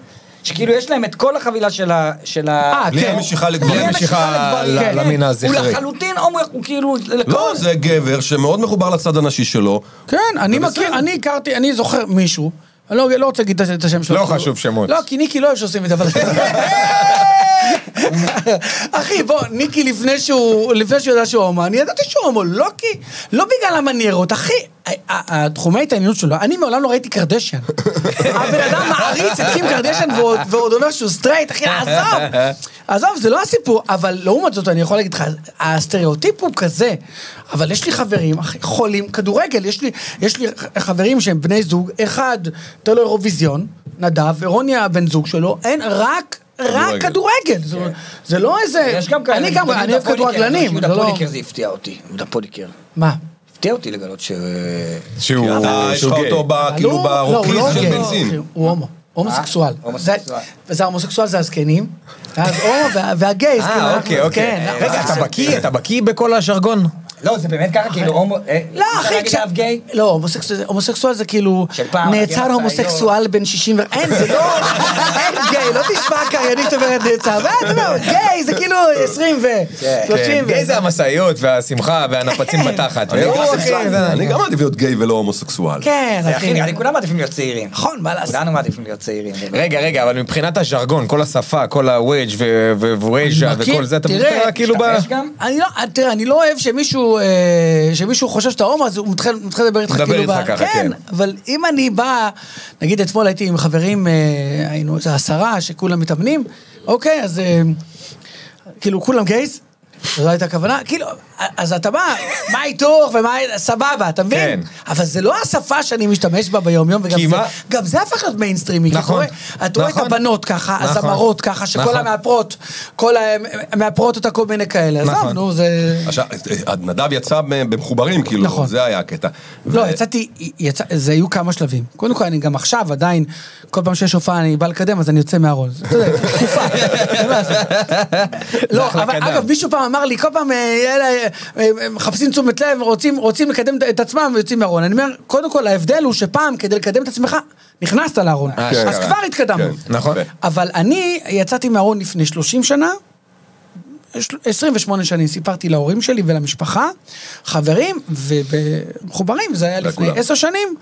[SPEAKER 5] שכאילו יש להם את כל החבילה של ה... של ה...
[SPEAKER 3] אה,
[SPEAKER 2] לי
[SPEAKER 3] כן.
[SPEAKER 2] אין משיכה
[SPEAKER 5] בלי
[SPEAKER 2] לגברים.
[SPEAKER 4] לי אין משיכה
[SPEAKER 5] לגברים,
[SPEAKER 4] ל-
[SPEAKER 5] כן.
[SPEAKER 4] למין
[SPEAKER 5] הוא
[SPEAKER 4] הזכרי.
[SPEAKER 5] לחלוטין הומו, הוא כאילו...
[SPEAKER 2] לא, זה גבר שמאוד מחובר לצד הנשי שלו.
[SPEAKER 3] כן, אני מכיר, אני הכרתי, אני זוכר מישהו, אני לא לא רוצה להגיד את השם שלו.
[SPEAKER 4] לא
[SPEAKER 3] כי הוא-
[SPEAKER 4] חשוב שמות.
[SPEAKER 3] לא, כי ניקי לא אוהב שעושים את זה, אבל... [laughs] אחי, בוא, ניקי לפני שהוא, לפני שהוא ידע שהוא הומו, אני ידעתי שהוא הומו, לא כי, לא בגלל המניירות, אחי, ה- ה- התחומי ההתעניינות שלו, אני מעולם לא ראיתי קרדשן. הבן אדם מעריץ את קים קרדשן ועוד- ועוד אומר שהוא סטרייט, אחי, עזוב. עזוב, זה לא הסיפור, אבל לעומת זאת, אני יכול להגיד לך, הסטריאוטיפ הוא כזה, אבל יש לי חברים, אחי, חולים, כדורגל, יש לי, יש לי חברים שהם בני זוג, אחד, תן לו אירוויזיון, נדב, ורוני הבן זוג שלו, אין, רק...
[SPEAKER 2] כדורגל.
[SPEAKER 3] רק כדורגל, זה- זה לא איזה...
[SPEAKER 5] כן. יש גם כאלה.
[SPEAKER 3] אני גם,
[SPEAKER 5] יהודה
[SPEAKER 3] אני אוהב
[SPEAKER 5] פוליקר,
[SPEAKER 3] כדורגלנים,
[SPEAKER 5] יהודה
[SPEAKER 3] זה לא...
[SPEAKER 5] פוליקר זה הפתיע אותי, יהודה פוליקר.
[SPEAKER 3] מה?
[SPEAKER 5] הפתיע אותי לגלות ש...
[SPEAKER 4] שהוא
[SPEAKER 2] אתה, יש לך
[SPEAKER 4] אה, שהוא גיי.
[SPEAKER 2] אותו ב- כאילו
[SPEAKER 3] לא, לא, הוא
[SPEAKER 2] ברוקריז
[SPEAKER 3] לא
[SPEAKER 2] של
[SPEAKER 3] הומו,
[SPEAKER 2] בנזין.
[SPEAKER 3] אחי, הוא הומו. הומוסקסואל.
[SPEAKER 5] הומוסקסואל.
[SPEAKER 3] זה- וזה ההומוסקסואל זה הזקנים, ואז הומו וה- והגייז. כאילו,
[SPEAKER 4] אה,
[SPEAKER 3] אנחנו-
[SPEAKER 4] אוקיי, אוקיי.
[SPEAKER 3] כן,
[SPEAKER 4] רגע,
[SPEAKER 3] אנחנו-
[SPEAKER 4] אתה בקיא, אתה בקיא בכל הז'רגון?
[SPEAKER 5] לא, זה באמת ככה, כאילו הומו... אה,
[SPEAKER 3] לא,
[SPEAKER 5] אפשר
[SPEAKER 3] אחי,
[SPEAKER 5] להגיד
[SPEAKER 3] כש-
[SPEAKER 5] עליו גיי?
[SPEAKER 3] לא, הומוסקסואל- הומוסקסואל זה כאילו,
[SPEAKER 5] של פעם,
[SPEAKER 3] נעצר
[SPEAKER 5] הגיע
[SPEAKER 3] הומוסקסואל בן 60 ו... אין, זה לא, אין גיי, לא תשמע קריינית שאומרת נעצר, מה, אתה יודע, גיי זה כאילו 20 ו... 30 ו...
[SPEAKER 4] גיי זה כן. המשאיות והשמחה והנפצים בתחת.
[SPEAKER 2] אני
[SPEAKER 4] והוא,
[SPEAKER 2] גם
[SPEAKER 4] אחי,
[SPEAKER 2] אסקסואל.
[SPEAKER 4] זה-
[SPEAKER 2] אני גם מעדיף להיות גיי ולא הומוסקסואל.
[SPEAKER 3] כן,
[SPEAKER 5] זה
[SPEAKER 3] אחי.
[SPEAKER 5] הכי נראה לי, כולם מעדיפים להיות צעירים.
[SPEAKER 3] נכון, מה לעשות?
[SPEAKER 5] כולנו מעדיפים להיות צעירים.
[SPEAKER 4] רגע, רגע, אבל מבחינת הז'רגון, כל השפה, כל הווייג' ו- ו- ווייג'ה
[SPEAKER 3] מכיר,
[SPEAKER 4] וכל זה, אתה
[SPEAKER 3] תראה,
[SPEAKER 4] מסתכל כאילו ב...
[SPEAKER 5] יש גם?
[SPEAKER 3] אני לא, תראה, אני לא אוהב שמישהו, אה, שמישהו חושב שאתה הומו, אז הוא מתחיל מתחיל לדבר איתך
[SPEAKER 4] מדבר
[SPEAKER 3] כאילו...
[SPEAKER 4] איתך
[SPEAKER 3] ב-
[SPEAKER 4] ככה, כן.
[SPEAKER 3] אבל אם אני בא, נגיד אתמול הייתי עם חברים, אה, היינו איזה עשרה שכולם מתאמנים, אוקיי, אז אה, כאילו כולם גייז. זו לא הייתה הכוונה, כאילו, אז אתה בא, מה ההיתוך ומה, סבבה, אתה מבין?
[SPEAKER 4] כן.
[SPEAKER 3] אבל זה לא השפה שאני משתמש בה ביום-יום, וגם
[SPEAKER 4] כי
[SPEAKER 3] זה,
[SPEAKER 4] מה-
[SPEAKER 3] גם זה הפך להיות מיינסטרימי. כי
[SPEAKER 4] נכון,
[SPEAKER 3] אתה רואה- אתה רואה את
[SPEAKER 4] נכון.
[SPEAKER 3] הבנות ככה,
[SPEAKER 4] נכון.
[SPEAKER 3] הזמרות ככה, שכל
[SPEAKER 4] נכון.
[SPEAKER 3] המאפרות, כל המאפרות אותה כל מיני כאלה. עזוב,
[SPEAKER 4] נכון.
[SPEAKER 3] נו, זה...
[SPEAKER 2] עכשיו, אה, נדב יצא במחוברים, כאילו,
[SPEAKER 3] נכון.
[SPEAKER 2] זה היה הקטע.
[SPEAKER 3] לא,
[SPEAKER 2] ו-
[SPEAKER 3] יצאתי, יצא, זה היו כמה שלבים. קודם כל, אני גם עכשיו עדיין, כל פעם שיש הופעה אני בא לקדם, אז אני יוצא מהארון. זה, אתה יודע, תקופה. אין מה לעשות. לא,
[SPEAKER 4] אחלה
[SPEAKER 3] אבל
[SPEAKER 4] קדם.
[SPEAKER 3] אגב, מישהו פעם אמר לי, כל פעם, אה, יאללה, אה, אה, מחפשים תשומת לב, רוצים, רוצים לקדם את עצמם ויוצאים מהארון. אני אומר, קודם כל, ההבדל הוא שפעם, כדי לקדם את עצמך, נכנסת לארון.
[SPEAKER 2] כן,
[SPEAKER 3] אז
[SPEAKER 2] כן.
[SPEAKER 3] כבר התקדמנו.
[SPEAKER 2] כן,
[SPEAKER 4] נכון.
[SPEAKER 2] יפה.
[SPEAKER 3] אבל אני יצאתי מהארון לפני 30 שנה, יש- 28 שנים סיפרתי להורים שלי ולמשפחה, חברים ומחוברים, זה היה לפני
[SPEAKER 2] לכולם.
[SPEAKER 3] 10 שנים,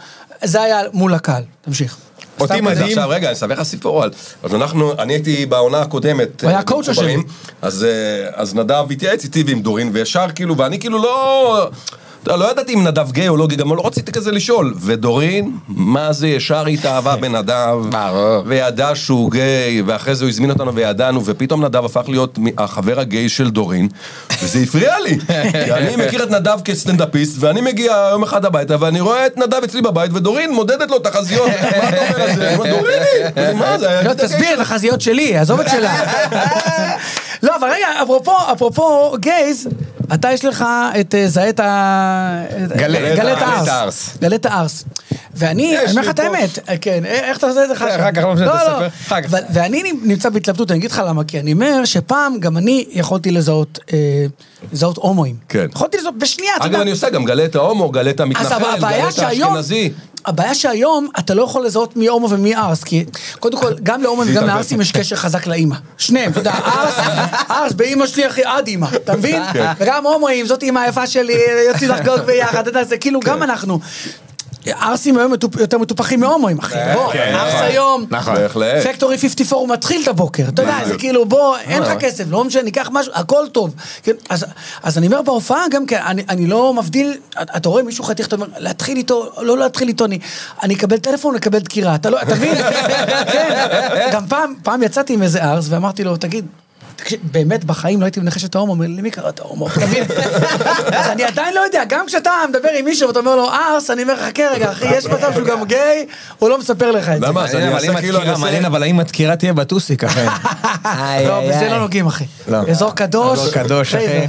[SPEAKER 3] זה היה מול הקהל. תמשיך.
[SPEAKER 4] אותי
[SPEAKER 3] סתם כזה.
[SPEAKER 4] מדהים,
[SPEAKER 2] עכשיו רגע, אני אספר לך סיפור על... אז אנחנו, אני הייתי בעונה הקודמת.
[SPEAKER 3] הוא היה
[SPEAKER 2] אה,
[SPEAKER 3] הקואוצ' השני.
[SPEAKER 2] במחוברים, אז, אה, אז נדב התייעץ איתי ועם דורין, וישר כאילו, ואני כאילו לא... אתה יודע, לא ידעתי אם נדב גיי או לא גיי, גם לא רציתי כזה לשאול. ודורין, מה זה, ישר התאהבה בנדב,
[SPEAKER 4] ברור.
[SPEAKER 2] וידע שהוא גיי, ואחרי זה הוא הזמין אותנו וידענו, ופתאום נדב הפך להיות מ- החבר הגיי של דורין, וזה הפריע לי. כי אני מכיר את נדב כסטנדאפיסט, ואני מגיע יום אחד הביתה, ואני רואה את נדב אצלי בבית, ודורין מודדת לו תחזיות, מה אתה אומר על זה? אני אומר, דוריני, מה זה? היה
[SPEAKER 3] לא,
[SPEAKER 2] קטע
[SPEAKER 3] תסביר, את החזיות שלי, עזוב את
[SPEAKER 4] [laughs]
[SPEAKER 3] שלה. לא, אבל רגע, אפרופו, אפרופו גייז, אתה יש לך את אה, זהית ה... את-
[SPEAKER 4] גלית,
[SPEAKER 3] גלית
[SPEAKER 4] גלית
[SPEAKER 3] הארס.
[SPEAKER 4] הארס.
[SPEAKER 3] גלית הארס. ואני, אני אומר לך את
[SPEAKER 4] לי פה.
[SPEAKER 3] האמת, אה, כן, אה, איך אתה עושה את זה?
[SPEAKER 4] אחר כך, לא משנה, תספר. אחר כך.
[SPEAKER 3] אבל- ואני נמצא בהתלבטות, אני אגיד לך למה, כי אני אומר שפעם גם אני יכולתי לזהות, אה, לזהות הומואים.
[SPEAKER 2] כן.
[SPEAKER 3] יכולתי לזהות בשנייה, אתה
[SPEAKER 2] אגב,
[SPEAKER 3] יודע.
[SPEAKER 2] אני עושה גם גלה את ההומו, גלה את
[SPEAKER 3] אז
[SPEAKER 2] המתנחל, גלה
[SPEAKER 3] הבעיה
[SPEAKER 2] את
[SPEAKER 3] שהיום...
[SPEAKER 2] האשכנזי.
[SPEAKER 3] הבעיה שהיום אתה לא יכול לזהות מי הומו ומי ארס, כי קודם כל, גם להומואים וגם
[SPEAKER 2] התערבב.
[SPEAKER 3] לארסים יש קשר חזק לאימא. שניהם, אתה יודע, ארס,
[SPEAKER 4] [laughs]
[SPEAKER 3] ארס באימא שלי אחי עד אימא, אתה מבין?
[SPEAKER 4] כן.
[SPEAKER 3] וגם הומואים, זאת אימא היפה שלי, יוצאים לחגוג ביחד, אתה יודע, זה כאילו
[SPEAKER 4] כן.
[SPEAKER 3] גם אנחנו. ארסים היום מטופ- יותר מטופחים מהומואים, אחי. בוא,
[SPEAKER 4] כן,
[SPEAKER 3] ארס
[SPEAKER 4] נכון.
[SPEAKER 3] היום,
[SPEAKER 4] נכון.
[SPEAKER 2] בהחלט.
[SPEAKER 3] פקטורי 54 הוא מתחיל את הבוקר, אתה יודע, זה כאילו בוא, אין
[SPEAKER 2] אה.
[SPEAKER 3] לך כסף, לא משנה, ניקח משהו, הכל טוב. כן, אז- אז אני אומר בהופעה גם כן, אני- אני לא מבדיל, אתה רואה מישהו חתיך, אתה אומר, להתחיל איתו, לא להתחיל איתו, אני- אני אקבל טלפון, אקבל דקירה, אתה לא, אתה
[SPEAKER 2] [laughs]
[SPEAKER 3] מבין? כן, גם פעם- פעם יצאתי עם איזה ארס ואמרתי לו, תגיד, תקשיב, באמת בחיים לא הייתי מנחש את ההומו, אומר לי, למי קראת הומו? אתה מבין? [laughs] אז אני עדיין לא יודע, גם כשאתה מדבר עם מישהו ואתה אומר לו ארס, אני אומר לך, חכה רגע, אחי, יש מצב שהוא
[SPEAKER 2] [laughs]
[SPEAKER 3] גם גיי, הוא לא מספר לך את זה.
[SPEAKER 2] למה? אז אני
[SPEAKER 4] אבל אם
[SPEAKER 2] אעשה
[SPEAKER 4] את
[SPEAKER 2] כאילו... אני
[SPEAKER 4] דקירה,
[SPEAKER 2] אעשה-
[SPEAKER 4] מעניין, אבל האם הדקירה תהיה בטוסיק [laughs] אחי?
[SPEAKER 3] לא, בזה לא נוגעים, אחי.
[SPEAKER 4] לא.
[SPEAKER 3] אזור קדוש.
[SPEAKER 4] אזור קדוש,
[SPEAKER 3] אחי.
[SPEAKER 4] אחי.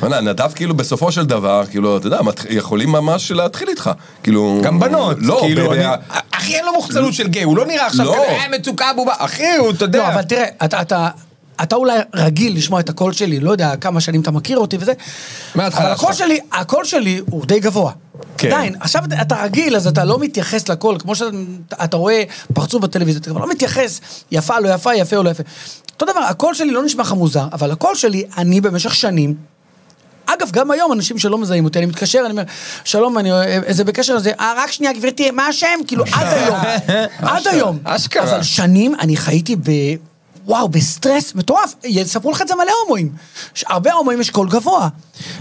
[SPEAKER 2] וואלה, נדב כאילו בסופו של דבר, כאילו, אתה יודע, מת- יכולים ממש להתחיל איתך. כאילו...
[SPEAKER 4] גם בנות,
[SPEAKER 2] לא,
[SPEAKER 4] כאילו,
[SPEAKER 2] ב-
[SPEAKER 4] אני-
[SPEAKER 2] ב-
[SPEAKER 4] אחי אין לו מוחצנות של גיי, הוא לא נראה עכשיו
[SPEAKER 2] לא.
[SPEAKER 4] כזה, "אה, מצוקה בובה, אחי הוא, אתה
[SPEAKER 3] לא,
[SPEAKER 4] יודע,
[SPEAKER 3] אבל תראה, אתה- אתה... אתה אולי רגיל לשמוע את הקול שלי, לא יודע כמה שנים אתה מכיר אותי וזה,
[SPEAKER 4] מההתחלה
[SPEAKER 3] אבל הקול
[SPEAKER 4] שלך.
[SPEAKER 3] שלי, הקול שלי הוא די גבוה.
[SPEAKER 4] כן.
[SPEAKER 3] עדיין, עכשיו אתה רגיל, אז אתה לא מתייחס לקול, כמו שאתה רואה פרצוף בטלוויזיה, אתה כבר לא מתייחס, יפה, לא יפה, יפה או לא יפה. אותו דבר, הקול שלי לא נשמע לך מוזר, אבל הקול שלי, אני במשך שנים, אגב, גם היום אנשים שלא מזהים אותי, אני מתקשר, אני אומר, שלום, אני, אה, זה בקשר לזה, אה, רק שנייה, גברתי, מה השם? כאילו, עד
[SPEAKER 4] [laughs]
[SPEAKER 3] היום, עד היום.
[SPEAKER 4] אשכרה.
[SPEAKER 3] אבל שנים אני חייתי ב... וואו, בסטרס מטורף, יספרו לך את זה מלא הומואים. ש- הרבה הומואים יש קול גבוה,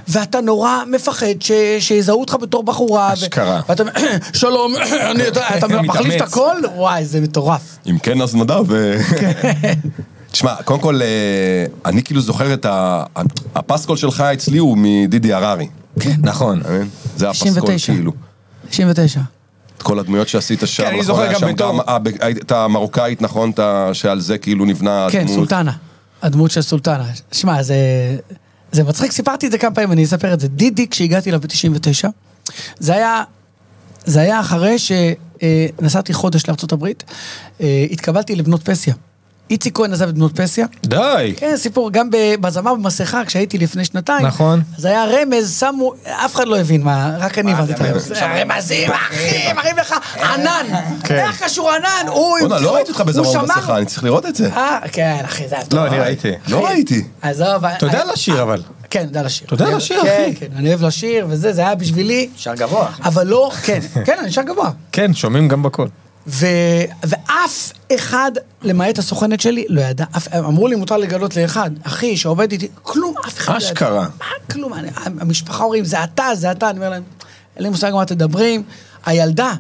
[SPEAKER 3] ואתה נורא מפחד ש... שיזהו אותך בתור בחורה. ו-
[SPEAKER 4] אשכרה.
[SPEAKER 3] ואתה אומר, [clears throat] שלום, אני יודע,
[SPEAKER 4] [laughs]
[SPEAKER 3] אתה
[SPEAKER 4] מתאמץ.
[SPEAKER 3] מחליף את הקול? וואי, זה מטורף.
[SPEAKER 2] אם כן, אז נדב. אה.
[SPEAKER 3] כן.
[SPEAKER 2] [laughs] תשמע, קודם כל, אה, אני כאילו זוכר את ה... הפסקול שלך אצלי הוא מדידי הררי.
[SPEAKER 4] נכון,
[SPEAKER 2] אתה מבין? זה הפסקול
[SPEAKER 3] 99.
[SPEAKER 2] כאילו.
[SPEAKER 3] 99.
[SPEAKER 2] את כל הדמויות שעשית שם,
[SPEAKER 4] כן, אני
[SPEAKER 2] נכון?
[SPEAKER 4] זוכר
[SPEAKER 2] היה
[SPEAKER 4] גם
[SPEAKER 2] שם
[SPEAKER 4] בתור-
[SPEAKER 2] גם, אה, ב- היית- את המרוקאית, נכון? את ה- שעל זה כאילו נבנה
[SPEAKER 3] כן,
[SPEAKER 2] הדמות.
[SPEAKER 3] סולטנה. הדמות של סולטנה. שמע, זה, זה מצחיק, סיפרתי את זה כמה פעמים, אני אספר את זה. דידי, כשהגעתי אליו ב-99, זה היה, זה היה אחרי שנסעתי חודש לארה"ב, התקבלתי לבנות פסיה. איציק כהן עזב את בנות פסיה.
[SPEAKER 4] די,
[SPEAKER 3] כן, סיפור, גם ב- בזמר במסכה, כשהייתי לפני שנתיים.
[SPEAKER 4] נכון.
[SPEAKER 3] אז היה רמז, שמו, אף אחד לא הבין מה, רק אני הבנתי את הרמז. זה הרמזים, אחי, מראים לך, ענן.
[SPEAKER 4] כן.
[SPEAKER 3] איך קשור ענן? הוא...
[SPEAKER 2] בוא'נה,
[SPEAKER 3] הוא
[SPEAKER 2] לא ראיתי אותך
[SPEAKER 3] שמר-
[SPEAKER 2] בזמר במסכה, אני צריך לראות את זה.
[SPEAKER 3] אה, כן, אחי, זה היה טוב.
[SPEAKER 4] לא אני ראיתי,
[SPEAKER 3] כן.
[SPEAKER 2] לא ראיתי.
[SPEAKER 3] עזוב.
[SPEAKER 4] אתה יודע לשיר אבל,
[SPEAKER 3] כן, יודע לשיר.
[SPEAKER 4] אתה יודע
[SPEAKER 3] אני-
[SPEAKER 4] לשיר,
[SPEAKER 3] כן,
[SPEAKER 4] אחי.
[SPEAKER 3] כן, אני אוהב לשיר, וזה, זה היה בשבילי.
[SPEAKER 5] שר גבוה, אחי.
[SPEAKER 3] אבל לא,
[SPEAKER 4] [laughs]
[SPEAKER 3] כן, כן, אני שר גבוה.
[SPEAKER 4] כן שומעים גם בקול,
[SPEAKER 3] ו, ואף אחד, למעט הסוכנת שלי, לא ידע. אף, אמרו לי, מותר לגלות לאחד, אחי שעובד איתי, כלום, אף אחד לא ידע.
[SPEAKER 4] אשכרה.
[SPEAKER 3] מה כלום? אני, המשפחה אומרים, זה אתה, זה אתה. אני אומר להם, אין לי מושג מה אתם מדברים. הילדה,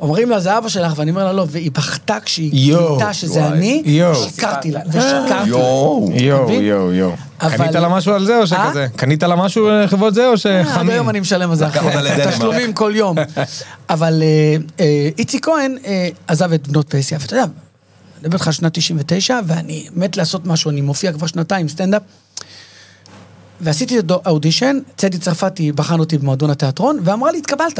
[SPEAKER 3] אומרים לה, זה אבא שלך, ואני אומר לה, לא, והיא בכתה כשהיא
[SPEAKER 4] יואו,
[SPEAKER 3] גילתה שזה
[SPEAKER 2] וואי.
[SPEAKER 3] אני,
[SPEAKER 4] יואו. אה,
[SPEAKER 3] שיקרתי לה, ושיקרתי לה.
[SPEAKER 2] יואו.
[SPEAKER 4] יואו
[SPEAKER 3] מבין?
[SPEAKER 4] יואו יואו,
[SPEAKER 3] אבל-
[SPEAKER 4] קנית לה משהו על זה או שכזה? קנית לה משהו לחברות זה או
[SPEAKER 3] אה, עד
[SPEAKER 4] שחמים?
[SPEAKER 3] היום אני משלם על זה,
[SPEAKER 2] לקח אותה לדנמרק.
[SPEAKER 3] תשלומים כל יום. אבל אה, אה, איציק כהן אה, עזב את בנות פנסיה, ואתה יודע, אני מדבר איתך על שנת 99, ואני מת לעשות משהו, אני מופיע כבר שנתיים סטנדאפ. ועשיתי את האודישן, צדי צרפתי בחן אותי במועדון התיאטרון, ואמרה לי, התקבלת.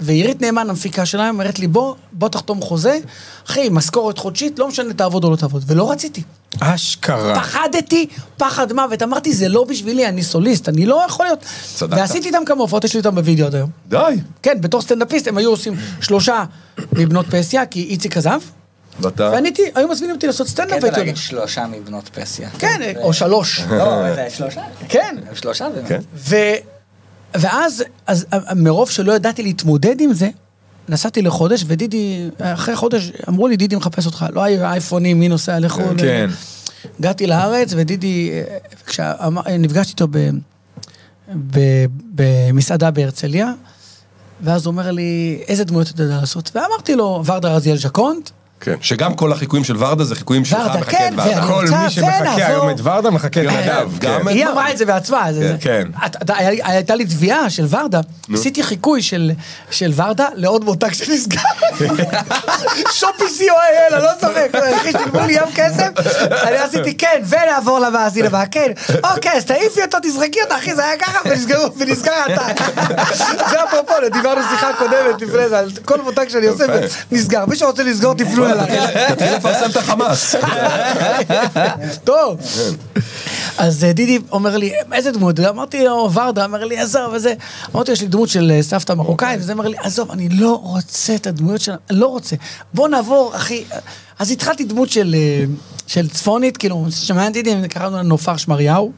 [SPEAKER 3] ועירית נאמן, המפיקה שלהם, אומרת לי, בוא, בוא תחתום חוזה, אחי, משכורת חודשית, לא משנה תעבוד או לא תעבוד. ולא רציתי.
[SPEAKER 4] אשכרה.
[SPEAKER 3] פחדתי פחד מוות, אמרתי זה לא בשבילי, אני סוליסט, אני לא יכול להיות.
[SPEAKER 2] צדקת.
[SPEAKER 3] ועשיתי איתם כמה הופעות, יש לי איתם בווידאו עד היום.
[SPEAKER 2] די.
[SPEAKER 3] כן, בתור סטנדאפיסט הם היו עושים שלושה מבנות פסיה, כי איציק עזב,
[SPEAKER 2] ואתה...
[SPEAKER 3] ואני הייתי, היו מזמינים אותי לעשות סטנדאפ,
[SPEAKER 5] קטע
[SPEAKER 3] והייתי
[SPEAKER 5] כן, להגיד
[SPEAKER 3] אומר,
[SPEAKER 5] שלושה מבנות פסיה.
[SPEAKER 3] כן, או שלוש.
[SPEAKER 5] לא, זה שלושה?
[SPEAKER 3] כן.
[SPEAKER 5] שלושה? באמת.
[SPEAKER 2] אה.
[SPEAKER 3] [laughs]
[SPEAKER 2] כן.
[SPEAKER 3] ו... ואז, אז מרוב שלא ידעתי להתמודד עם זה, נסעתי לחודש, ודידי, אחרי חודש אמרו לי, דידי מחפש אותך, לא היו אייפונים, מי נוסע לחו"ל.
[SPEAKER 4] כן.
[SPEAKER 3] הגעתי לארץ, ודידי, אה, כשאמר- אה, נפגשתי איתו ב- ב- במסעדה בהרצליה, ואז הוא אומר לי, איזה דמויות אתה יודע לעשות? ואמרתי לו, ורדה רזיאל ז'קונט,
[SPEAKER 2] כן. שגם כל החיקויים של ורדה זה חיקויים שלך.
[SPEAKER 3] ורדה,
[SPEAKER 2] מחכה
[SPEAKER 3] כן,
[SPEAKER 2] את ורדה.
[SPEAKER 3] ואני-
[SPEAKER 4] כל מי
[SPEAKER 3] רוצה,
[SPEAKER 4] שמחכה
[SPEAKER 3] זה,
[SPEAKER 4] היום
[SPEAKER 3] נעזור.
[SPEAKER 4] את ורדה מחכה את נדב.
[SPEAKER 2] גם
[SPEAKER 4] כן.
[SPEAKER 2] את-
[SPEAKER 3] היא
[SPEAKER 2] מה?
[SPEAKER 3] אמרה את זה בעצמה. זה- זה-
[SPEAKER 4] כן.
[SPEAKER 3] את- את- היה- הייתה לי תביעה של ורדה, עשיתי חיקוי של- של ורדה לעוד מותג
[SPEAKER 2] [laughs]
[SPEAKER 3] שנסגר. שופי co.il, אני לא צוחק, אחי, שילמו לי ים כסף, אני עשיתי כן, ונעבור למאזין הבא, כן, אוקיי, אז תעיפי אותו, תזרקי אותה, אחי, זה היה ככה, ונסגרו- ונסגר
[SPEAKER 2] [laughs]
[SPEAKER 3] האתר. זה אפרופו, דיברנו שיחה קודמת לפני זה, על כל מותג שאני עושה, נסגר. מי שרוצה לסגור, תפנו אליי.
[SPEAKER 2] תתחיל לפרסם את החמאס.
[SPEAKER 3] טוב. אז אה, דידי אומר לי, איזה דמות? אמרתי לו, ורדה, אמר לי, עזוב, וזה. אמרתי, יש לי דמות של אה, סבתא מרוקאית, וזה אומר לי, עזוב, אני לא רוצה את הדמויות שלה, אני לא רוצה. בוא נעבור, אחי. אז התחלתי דמות של... אה, של צפונית, כאילו, שמעתי דידי, קראנו לה נופר שמריהו.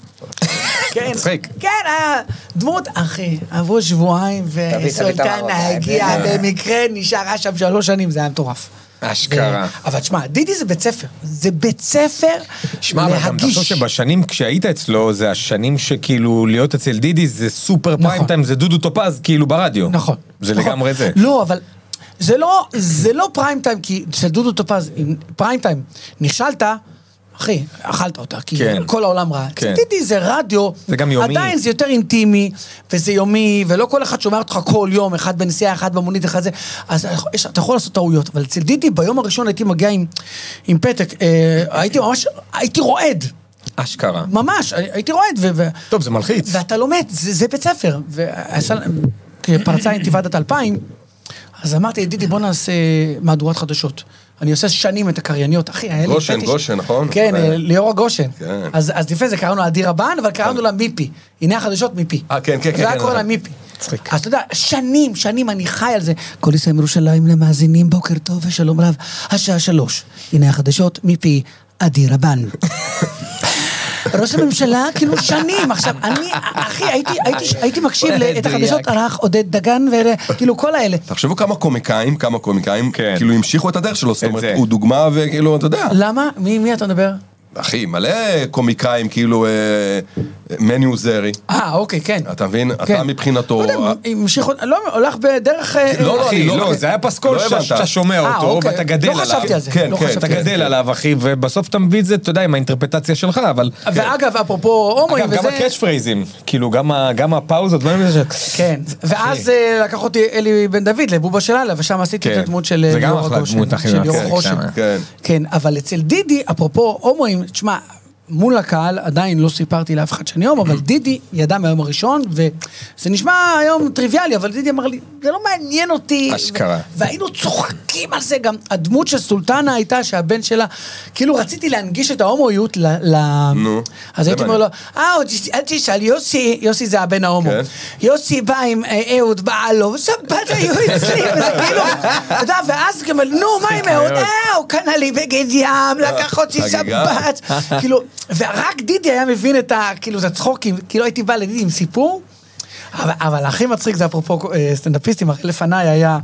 [SPEAKER 3] כן,
[SPEAKER 4] מצחיק.
[SPEAKER 3] כן, היה דמות, אחי, עברו שבועיים,
[SPEAKER 5] תביא את
[SPEAKER 3] וסולטנה
[SPEAKER 5] המרוקאי,
[SPEAKER 3] הגיע
[SPEAKER 5] בדיוק.
[SPEAKER 3] במקרה, נשארה שם שלוש שנים, זה היה מטורף.
[SPEAKER 4] אשכרה.
[SPEAKER 3] ו- אבל תשמע, דידי זה בית ספר. זה בית ספר
[SPEAKER 4] שמע, אבל גם תחשוב
[SPEAKER 3] להגיש.
[SPEAKER 4] שבשנים כשהיית אצלו, זה השנים שכאילו להיות אצל דידי זה סופר פריים טיים, זה דודו טופז כאילו ברדיו.
[SPEAKER 3] נכון.
[SPEAKER 4] זה
[SPEAKER 3] נכון.
[SPEAKER 4] לגמרי זה.
[SPEAKER 3] לא, אבל זה לא, זה לא פריים טיים, כי אצל דודו טופז, אם פריים טיים, נכשלת, אחי, אכלת אותה, כי
[SPEAKER 4] כן.
[SPEAKER 3] כל העולם ראה. כן.
[SPEAKER 4] כן.
[SPEAKER 3] דידי זה רדיו,
[SPEAKER 4] זה גם יומי.
[SPEAKER 3] עדיין זה יותר אינטימי, וזה יומי, ולא כל אחד שומע אותך כל יום, אחד בנסיעה, אחד במונית, אחד זה, אז יש- אתה יכול לעשות טעויות, אבל אצל דידי ביום הראשון הייתי מגיע עם, עם פתק, אה, הייתי ממש, הייתי רועד,
[SPEAKER 4] אשכרה.
[SPEAKER 3] ממש, הייתי רועד, ו... ו-
[SPEAKER 4] טוב, זה מלחיץ.
[SPEAKER 3] ואתה לומד, זה, זה בית ספר. ועשה- כשפרצה אינתיפאדת 2000, אז אמרתי, ידידי, בוא נעשה מהדורת חדשות. אני עושה שנים את הקרייניות, אחי, היה לי
[SPEAKER 2] גושן,
[SPEAKER 3] פטיש-
[SPEAKER 2] גושן, נכון?
[SPEAKER 3] כן,
[SPEAKER 2] אה.
[SPEAKER 3] ליאורה גושן.
[SPEAKER 2] כן.
[SPEAKER 3] אז אז לפני זה קראנו לה אדיר הבן, אבל קראנו לה מיפי. הנה החדשות מיפי.
[SPEAKER 2] אה, כן, כן, כן,
[SPEAKER 3] זה היה
[SPEAKER 2] כן,
[SPEAKER 3] קורא לה
[SPEAKER 2] נכון.
[SPEAKER 3] מיפי. אז אתה יודע, שנים, שנים אני חי על זה. כל ישראל מירושלים למאזינים, בוקר טוב ושלום רב. השעה שלוש. הנה החדשות מפי
[SPEAKER 2] [laughs]
[SPEAKER 3] אדיר הבן. ראש הממשלה, כאילו שנים, עכשיו, אני, אחי, הייתי, הייתי, הייתי מקשיב את החדשות ערך עודד דגן, וכאילו כל האלה.
[SPEAKER 2] תחשבו כמה קומיקאים, כמה קומיקאים,
[SPEAKER 4] כן.
[SPEAKER 2] כאילו המשיכו את הדרך שלו, זאת
[SPEAKER 4] את
[SPEAKER 2] אומרת,
[SPEAKER 4] זה.
[SPEAKER 2] הוא דוגמה וכאילו, אתה יודע,
[SPEAKER 3] למה? מי, מי אתה מדבר?
[SPEAKER 2] אחי, מלא קומיקאים, כאילו, אה, מני עוזרי,
[SPEAKER 3] אה, אוקיי, כן.
[SPEAKER 2] אתה מבין? אתה
[SPEAKER 3] כן.
[SPEAKER 2] מבחינתו... אה,
[SPEAKER 3] לא יודע, המשיכו, לא, הולך בדרך... אה,
[SPEAKER 2] לא, לא,
[SPEAKER 4] אחי,
[SPEAKER 2] אני
[SPEAKER 4] לא, זה היה פסקול
[SPEAKER 2] לא
[SPEAKER 4] ש-
[SPEAKER 2] הבנת.
[SPEAKER 4] שאתה שומע
[SPEAKER 3] אה,
[SPEAKER 4] אותו,
[SPEAKER 3] אוקיי.
[SPEAKER 4] ואתה גדל
[SPEAKER 3] לא
[SPEAKER 4] עליו.
[SPEAKER 3] חשבתי על זה,
[SPEAKER 2] כן,
[SPEAKER 3] לא
[SPEAKER 2] כן,
[SPEAKER 3] חשבתי
[SPEAKER 4] אתה
[SPEAKER 3] על זה.
[SPEAKER 4] גדל עליו, אחי, ובסוף אתה מביא את זה, אתה יודע, עם האינטרפטציה שלך, אבל... כן.
[SPEAKER 3] ואגב, אפרופו הומואים
[SPEAKER 4] אגב,
[SPEAKER 3] וזה...
[SPEAKER 4] גם הקאץ' פרייזים, כאילו, גם ה- גם הפאוזות, דברים כאלה ש-
[SPEAKER 3] כן, ואז אה, לקח אותי אלי בן דוד לבובה של הלאה, ושם עשיתי
[SPEAKER 4] כן.
[SPEAKER 3] את הדמות של
[SPEAKER 4] זה
[SPEAKER 3] אה,
[SPEAKER 4] גם
[SPEAKER 3] ליאורה
[SPEAKER 4] אחלה
[SPEAKER 3] גושן,
[SPEAKER 4] דמות, אחי,
[SPEAKER 3] של
[SPEAKER 4] מהפרק
[SPEAKER 3] ליאורה גושן.
[SPEAKER 4] שם.
[SPEAKER 2] כן.
[SPEAKER 3] כן, אבל אצל דידי, אפרופו הומואים, תשמע, מול הקהל עדיין לא סיפרתי לאף אחד שאני הומו, אבל דידי ידע מהיום הראשון, וזה נשמע היום טריוויאלי, אבל דידי אמר לי, זה לא מעניין אותי.
[SPEAKER 4] אשכרה.
[SPEAKER 3] ו- והיינו צוחקים על זה, גם הדמות של סולטנה הייתה שהבן שלה, כאילו רציתי להנגיש את ההומואיות ל... ל-
[SPEAKER 2] נו,
[SPEAKER 3] אז
[SPEAKER 2] זה
[SPEAKER 3] הייתי אומר לו,
[SPEAKER 2] מעניין.
[SPEAKER 3] אה, עוד תש- אל תשאל, יוסי, יוסי זה הבן ההומו.
[SPEAKER 2] כן.
[SPEAKER 3] יוסי בא עם אה, אהוד בעלו, סבבה,
[SPEAKER 2] [laughs]
[SPEAKER 3] היו אצלי, וזה כאילו, אתה יודע, ואז גם, נו, מה עם אהוד? אה, הוא קנה לי בגד ים, לקח אותי
[SPEAKER 2] אה, חגיגה. [laughs]
[SPEAKER 3] שבת. כאילו, ורק דידי היה מבין את ה... כאילו, את הצחוקים, כאילו הייתי בא לדידי עם סיפור, אבל- אבל הכי מצחיק זה אפרופו אה, סטנדאפיסטים, הרי לפניי היה,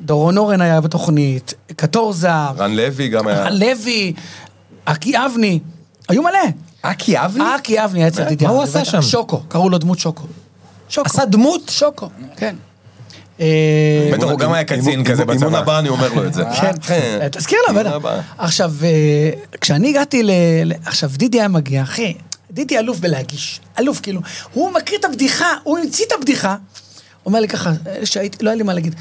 [SPEAKER 3] דורון אורן היה בתוכנית, קטורזה,
[SPEAKER 2] רן לוי גם היה...
[SPEAKER 3] לוי, אקי אבני, היו מלא.
[SPEAKER 4] אקי אבני?
[SPEAKER 3] אקי אבני היה אצל דידי.
[SPEAKER 4] מה הוא
[SPEAKER 3] אבני,
[SPEAKER 4] עשה
[SPEAKER 3] בטח.
[SPEAKER 4] שם?
[SPEAKER 3] שוקו, קראו לו דמות שוקו. שוקו.
[SPEAKER 4] עשה דמות?
[SPEAKER 3] שוקו, כן. אה,
[SPEAKER 4] בטח הוא גם היה קצין
[SPEAKER 2] אימון-
[SPEAKER 4] כזה
[SPEAKER 2] אימון- אימון
[SPEAKER 4] בצבא.
[SPEAKER 2] הבא אני אומר לו את זה.
[SPEAKER 3] כן, אה, תזכיר לה,
[SPEAKER 2] אימון
[SPEAKER 3] בטח.
[SPEAKER 2] הבא.
[SPEAKER 3] עכשיו, אה, כשאני הגעתי ל... ל- עכשיו, דידי היה מגיע, אחי, דידי אלוף בלהגיש, אלוף כאילו, הוא מקריא את הבדיחה, הוא המציא את הבדיחה. אומר לי ככה, שהייתי, לא היה לי מה להגיד.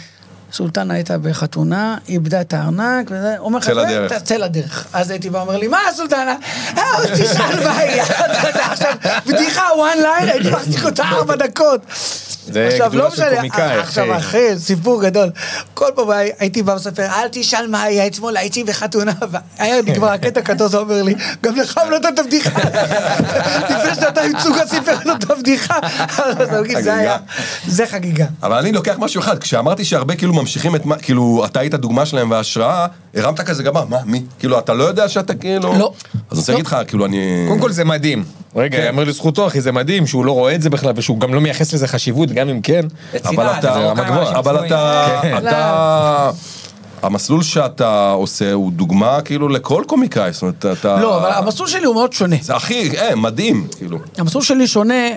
[SPEAKER 3] סולטנה הייתה בחתונה, איבדה את הארנק, וזה, אומר לך,
[SPEAKER 2] צא
[SPEAKER 3] "זה,
[SPEAKER 2] לדרך."
[SPEAKER 3] אתה צא לדרך. אז הייתי בא, אומר לי, מה סולטנה? אה, עוד תשאל מה היא, אתה יודע, [laughs] עכשיו, בדיחה one line, הייתי [laughs] מחזיק אותה ארבע דקות.
[SPEAKER 4] זה
[SPEAKER 3] עכשיו,
[SPEAKER 4] גדולה
[SPEAKER 3] לא
[SPEAKER 4] של
[SPEAKER 3] משנה,
[SPEAKER 4] קומיקאי,
[SPEAKER 3] עכשיו,
[SPEAKER 4] אחי.
[SPEAKER 3] אחי, סיפור גדול. כל פעם הי- הייתי בא מספר, אל תשאל מה היה אתמול, הייתי בחתונה, והיה נגמר הקטע כתוז אומר לי, גם לך הוא נתן את הבדיחה. [laughs] לפני שנתיים צוגה סיפר לו את הבדיחה. [laughs] זה היה, זה חגיגה.
[SPEAKER 2] אבל אני לוקח משהו אחד, כשאמרתי שהרבה כאילו ממשיכים את מה, כאילו, אתה היית דוגמה שלהם וההשראה, הרמת כזה גבה, מה, מי? כאילו, אתה לא יודע שאתה כאילו...
[SPEAKER 3] לא.
[SPEAKER 2] אז אני רוצה
[SPEAKER 3] לא.
[SPEAKER 2] להגיד לך, כאילו, אני...
[SPEAKER 4] קודם כל זה מדהים. כן. רגע, יאמר לזכותו, אחי, זה מדהים שהוא לא רואה את זה בכלל, ושהוא גם לא מייחס לזה חשיבות, גם אם כן.
[SPEAKER 2] אבל
[SPEAKER 5] בצידה,
[SPEAKER 2] אתה,
[SPEAKER 5] זה רמה גבוהה.
[SPEAKER 2] אבל אתה,
[SPEAKER 4] כן.
[SPEAKER 2] אתה,
[SPEAKER 3] לא.
[SPEAKER 2] המסלול שאתה עושה הוא דוגמה כאילו לכל קומיקאי, זאת אומרת, אתה...
[SPEAKER 3] לא, אבל המסלול שלי הוא מאוד שונה.
[SPEAKER 2] זה הכי, אה, מדהים, כאילו.
[SPEAKER 3] המסלול שלי שונה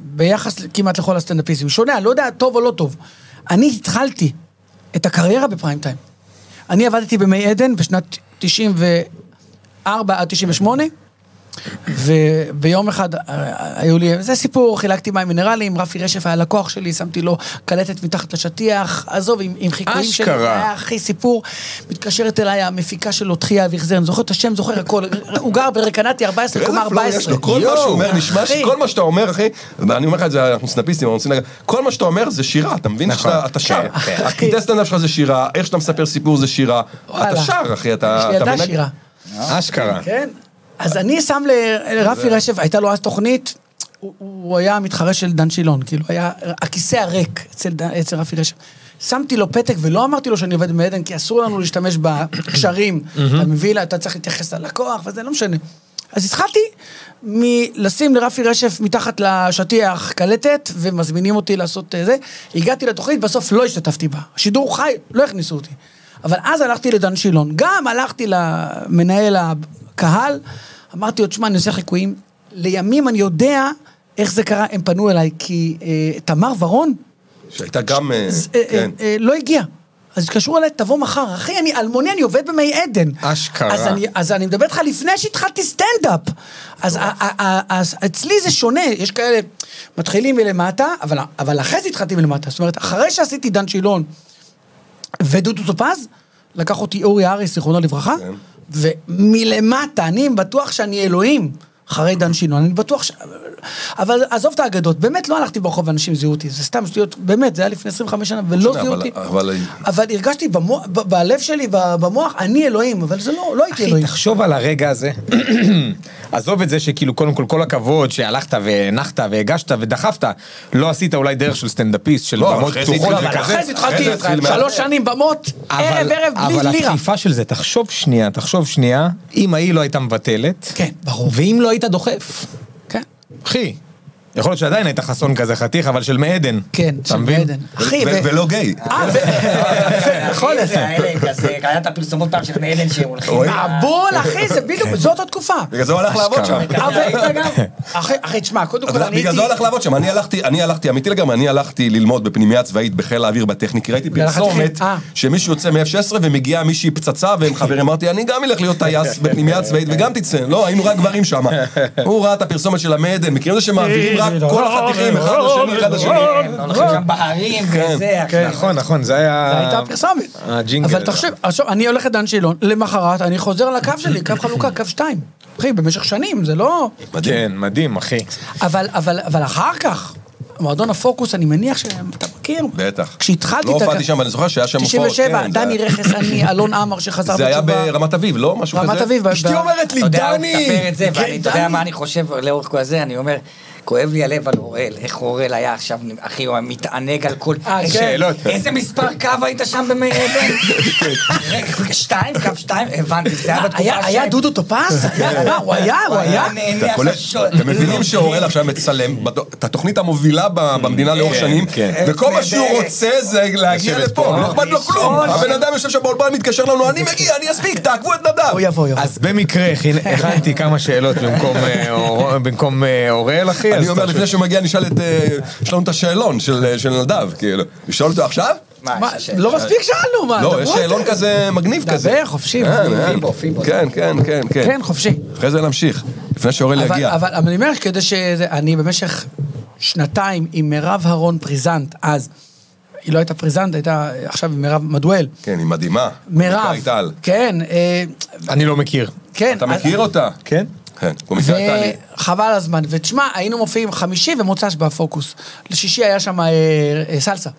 [SPEAKER 3] ביחס כמעט לכל הסטנדאפיסטים. שונה, אני לא יודע טוב או לא טוב. אני התחלתי את הקריירה בפריים טיים. אני עבדתי במי עדן בשנת 94 עד 98, וביום אחד אה, היו לי, זה סיפור, חילקתי מים מינרליים, רפי רשף היה לקוח שלי, שמתי לו קלטת מתחת לשטיח, עזוב, עם, עם חיקויים שלי,
[SPEAKER 4] אשכרה.
[SPEAKER 3] זה היה הכי סיפור. מתקשרת אליי המפיקה שלו, תחייה אביחזר, אני זוכר את השם, זוכר הכל, הוא גר ברקנטי 14,
[SPEAKER 2] תראה
[SPEAKER 4] לא,
[SPEAKER 3] קומה
[SPEAKER 2] איזה פלואו לא, יש
[SPEAKER 3] 14.
[SPEAKER 2] לו, כל מה שהוא אומר, נשמע
[SPEAKER 3] אחי.
[SPEAKER 2] שכל מה שאתה אומר, אחי, ואני אומר לך את זה, אנחנו סטנאפיסטים, אנחנו רוצים להגיד, כל מה שאתה אומר זה שירה, אתה מבין? שאתה- אתה שר.
[SPEAKER 3] כן.
[SPEAKER 2] הקטעי סטנדאפ שלך זה שירה, איך שאתה מספר סיפור זה שירה. אתה
[SPEAKER 3] וואלה.
[SPEAKER 2] שר, אחי,
[SPEAKER 3] יש
[SPEAKER 2] אתה... אתה
[SPEAKER 3] לי ילדה
[SPEAKER 2] מנגן.
[SPEAKER 3] שירה.
[SPEAKER 4] אשכרה.
[SPEAKER 3] כן. אז אני שם ל- לרפי רשף, הייתה לו אז תוכנית, הוא- הוא היה המתחרה של דן שילון, כאילו, היה הכיסא הריק אצל דן- אצל רפי רשף. שמתי לו פתק ולא אמרתי לו שאני עובד מעדן, כי אסור לנו להשתמש בקשרים. אתה מביא לה, אתה צריך להתייחס ללקוח, וזה לא משנה. אז התחלתי מלשים לרפי רשף מתחת לשטיח קלטת, ומזמינים אותי לעשות אה, זה. הגעתי לתוכנית, בסוף לא השתתפתי בה. שידור חי, לא הכניסו אותי. אבל אז הלכתי לדן שילון. גם הלכתי למנהל הקהל, אמרתי לו, תשמע, אני עושה חיקויים. לימים אני יודע איך זה קרה, הם פנו אליי, כי אה, תמר ורון
[SPEAKER 2] שהייתה גם... אה,
[SPEAKER 3] אז, אה,
[SPEAKER 2] כן.
[SPEAKER 3] אה, אה, לא הגיע. אז התקשרו אליי, תבוא מחר. אחי, אני אלמוני, אני עובד במי עדן.
[SPEAKER 4] אשכרה.
[SPEAKER 3] אז אני, אז אני מדבר איתך לפני שהתחלתי סטנדאפ. אז, ה- ה- ה- אז אצלי זה שונה, יש כאלה מתחילים מלמטה, אבל, אבל אחרי זה התחלתי מלמטה. זאת אומרת, אחרי שעשיתי דן שילון ודודו טופז, לקח אותי אורי אריס, זיכרונו לברכה,
[SPEAKER 2] כן.
[SPEAKER 3] ומלמטה, אני בטוח שאני אלוהים. אחרי דן שינון, אני בטוח ש... אבל עזוב את האגדות, באמת לא הלכתי ברחוב ואנשים זיהו אותי, זה סתם שטויות, באמת, זה היה לפני 25 שנה, ולא
[SPEAKER 2] לא אבל-
[SPEAKER 3] זיהו אותי.
[SPEAKER 2] אבל-
[SPEAKER 3] אבל הרגשתי במוח, ב- בלב שלי, ב- במוח, אני אלוהים, אבל זה לא, לא הייתי
[SPEAKER 4] אחי,
[SPEAKER 3] אלוהים.
[SPEAKER 4] תחשוב על הרגע הזה. [clears throat] עזוב את זה שכאילו, קודם כל, כל הכבוד שהלכת והנחת והגשת ודחפת. לא עשית אולי דרך של סטנדאפיסט, של
[SPEAKER 2] לא,
[SPEAKER 4] במות
[SPEAKER 2] אחרי זה
[SPEAKER 4] פתוחות
[SPEAKER 2] התחיל-
[SPEAKER 3] אבל
[SPEAKER 2] כזה-
[SPEAKER 3] אחרי זה התחלתי
[SPEAKER 2] אחרי זה התחיל
[SPEAKER 3] שלוש
[SPEAKER 2] מעט.
[SPEAKER 3] שנים במות, ערב ערב
[SPEAKER 4] אבל
[SPEAKER 3] בלי לירה.
[SPEAKER 4] הדחיפה של זה, תחשוב שנייה, תחשוב שנייה, אם ההיא לא הייתה מבטלת,
[SPEAKER 3] כן, ברור.
[SPEAKER 4] ואם לא היית דוחף,
[SPEAKER 3] כן,
[SPEAKER 4] אחי, יכול להיות שעדיין היית חסון כזה חתיך, אבל של מעדן.
[SPEAKER 3] כן,
[SPEAKER 4] אתה
[SPEAKER 3] של
[SPEAKER 4] מבין?
[SPEAKER 3] ביידן. אחי,
[SPEAKER 2] ו-
[SPEAKER 3] ו-
[SPEAKER 2] ולא לא גיי.
[SPEAKER 3] אה,
[SPEAKER 2] [laughs]
[SPEAKER 3] ו- נכון.
[SPEAKER 5] אחי, זה האלה, כזה, היה את הפרסומות פעם של בני עדן שהם הולכים...
[SPEAKER 2] אוי.
[SPEAKER 3] בול, אחי, זה בדיוק, זאת התקופה.
[SPEAKER 2] כן. בגלל זה הוא הלך לעבוד שם.
[SPEAKER 4] אשכרה.
[SPEAKER 5] אבל-
[SPEAKER 3] אבל- אחי, אחי, תשמע, קודם
[SPEAKER 2] אז
[SPEAKER 3] כל אני
[SPEAKER 2] בגלל זה
[SPEAKER 3] הייתי...
[SPEAKER 2] הלך לעבוד שם, אני הלכתי, אני הלכתי, אמיתי לגמרי, אני הלכתי ללמוד בפנימייה צבאית בחיל האוויר בטכני, כי ראיתי
[SPEAKER 3] והלכת לחיל-
[SPEAKER 2] פרסומת
[SPEAKER 3] אה.
[SPEAKER 2] שמישהו יוצא מ-F-16 ומגיעה מישהי פצצה, והם חברים, אמרתי, אני גם אלך להיות
[SPEAKER 3] [laughs]
[SPEAKER 2] טייס בפנימייה צבאית וגם תצא, לא, היינו רק גברים שם. הוא ראה את הפרסומת של המדן, מכירים את זה
[SPEAKER 3] [laughs]
[SPEAKER 2] שמעבירים רק כל החתיכים אחד לשני, אחד לשני.
[SPEAKER 5] הם לא הולכים שם בהרים
[SPEAKER 2] כן.
[SPEAKER 5] וזה,
[SPEAKER 3] כן.
[SPEAKER 5] אחי.
[SPEAKER 4] נכון, נכון, זה היה...
[SPEAKER 3] זה הייתה פרסומת.
[SPEAKER 4] הג'ינגל.
[SPEAKER 3] אבל תחשוב, עכשיו, אני הולך לדן שילון, למחרת אני חוזר לקו שלי, קו חלוקה, קו שתיים. אחי, במשך שנים, זה לא...
[SPEAKER 2] מדהים.
[SPEAKER 4] כן, מדהים, אחי.
[SPEAKER 3] אבל, אבל, אבל אחר כך, מועדון הפוקוס, אני מניח שאתה מכיר.
[SPEAKER 2] בטח.
[SPEAKER 3] כשהתחלתי
[SPEAKER 2] לא
[SPEAKER 3] את...
[SPEAKER 2] הופעתי שם, אבל אני זוכר שהיה שם הופעות,
[SPEAKER 3] 97,
[SPEAKER 2] כן, זה
[SPEAKER 3] דני
[SPEAKER 2] היה-
[SPEAKER 3] רכס,
[SPEAKER 2] [laughs]
[SPEAKER 3] אני, אלון עמר שחזר
[SPEAKER 2] זה היה
[SPEAKER 3] בתשובה.
[SPEAKER 2] ברמת אביב, לא? משהו כזה?
[SPEAKER 3] רמת אביב, ב-
[SPEAKER 2] אשתי
[SPEAKER 3] ב-
[SPEAKER 2] אומרת לי,
[SPEAKER 5] אתה יודע, הוא
[SPEAKER 2] דני!
[SPEAKER 5] מספר את זה, ואני
[SPEAKER 2] כן,
[SPEAKER 5] אתה יודע
[SPEAKER 3] דני.
[SPEAKER 5] מה אני חושב לאורך כל הזה, אני אומר... כואב לי הלב על אוראל, איך אוראל היה עכשיו, אחי, הוא היה מתענג על כל...
[SPEAKER 3] אה,
[SPEAKER 5] איזה-
[SPEAKER 4] שאלות.
[SPEAKER 5] איזה מספר קו היית שם במי
[SPEAKER 2] [laughs]
[SPEAKER 5] אבן? רגע, שתיים, קו שתיים, הבנתי, זה היה
[SPEAKER 3] היה-
[SPEAKER 5] בתקופה
[SPEAKER 3] אה, היה
[SPEAKER 5] שהם-
[SPEAKER 3] דודו
[SPEAKER 2] [laughs]
[SPEAKER 3] טופז? היה, מה, הוא היה, הוא היה.
[SPEAKER 5] נהנה
[SPEAKER 2] כולל-
[SPEAKER 5] עכשיו.
[SPEAKER 2] אתם מבינים שאוראל עכשיו מצלם בד- את התוכנית המובילה ב- במדינה לאורך
[SPEAKER 4] כן,
[SPEAKER 2] שנים,
[SPEAKER 4] כן.
[SPEAKER 2] וכל מה שהוא
[SPEAKER 5] נהדר.
[SPEAKER 2] רוצה זה להגיע
[SPEAKER 4] לשבת
[SPEAKER 2] לפה,
[SPEAKER 4] פה.
[SPEAKER 2] לא אכפת לו כלום.
[SPEAKER 5] לשאול.
[SPEAKER 2] הבן אדם יושב שם באולפן, מתקשר לנו, אני מגיע, אני אספיק, תעקבו את נדב.
[SPEAKER 3] הוא יבוא, יבוא.
[SPEAKER 4] אז
[SPEAKER 3] [laughs]
[SPEAKER 4] במקרה הכין- הכנתי כמה שאלות במקום, אה, אור- במקום אה, אוראל, אחי. אז
[SPEAKER 2] אני אומר,
[SPEAKER 4] תחשוב-
[SPEAKER 2] לפני שהוא מגיע, נשאל את... אה, יש לנו את השאלון של אה, של נדב, כאילו. נשאל אותו עכשיו?
[SPEAKER 5] מה,
[SPEAKER 3] מה,
[SPEAKER 5] יש שאלה?
[SPEAKER 3] לא מספיק שאלנו, מה?
[SPEAKER 2] לא,
[SPEAKER 3] דברו
[SPEAKER 2] יש
[SPEAKER 3] אתם.
[SPEAKER 2] שאלון כזה מגניב
[SPEAKER 3] דבר,
[SPEAKER 2] כזה.
[SPEAKER 3] חופשי,
[SPEAKER 2] כן,
[SPEAKER 3] מגניב.
[SPEAKER 2] כן.
[SPEAKER 5] פיבו, פיבו.
[SPEAKER 2] כן, כן, כן, כן.
[SPEAKER 3] כן, חופשי.
[SPEAKER 2] אחרי זה נמשיך, לפני שאורל
[SPEAKER 3] אבל-
[SPEAKER 2] יגיע.
[SPEAKER 3] אבל אבל אני אומר, כדי ש... אני במשך שנתיים עם מירב הרון פריזנט, אז, היא לא הייתה פריזנט, הייתה עכשיו עם מירב מדואל.
[SPEAKER 2] כן, היא מדהימה.
[SPEAKER 3] מירב.
[SPEAKER 2] קומיקאית על.
[SPEAKER 3] כן, אה,
[SPEAKER 4] אני לא מכיר.
[SPEAKER 3] כן.
[SPEAKER 2] אתה
[SPEAKER 3] אז-
[SPEAKER 2] מכיר אותה?
[SPEAKER 4] כן?
[SPEAKER 2] כן, קומיקאית על.
[SPEAKER 3] וחבל הזמן. ותשמע, היינו מופיעים חמישי ומוצ"ש בפוקוס. לשישי היה שם אה, אה, סלסה.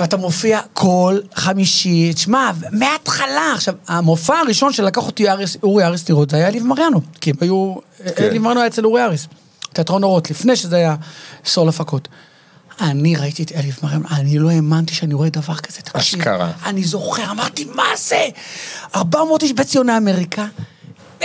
[SPEAKER 3] ואתה מופיע כל חמישי, תשמע, מההתחלה. עכשיו, המופע הראשון שלקח אותי אריס, אורי אריס לראות, זה היה אליב מריאנו. כי הם היו...
[SPEAKER 2] כן.
[SPEAKER 3] כן. אליב מריאנו היה אצל אורי אריס. תיאטרון אורות, לפני שזה היה סול הפקות. אני ראיתי את אליב מריאנו, אני לא האמנתי שאני רואה דבר כזה. תקשיב.
[SPEAKER 4] אשכרה.
[SPEAKER 3] אני זוכר, אמרתי, מה זה? 400 איש בית ציוני אמריקה,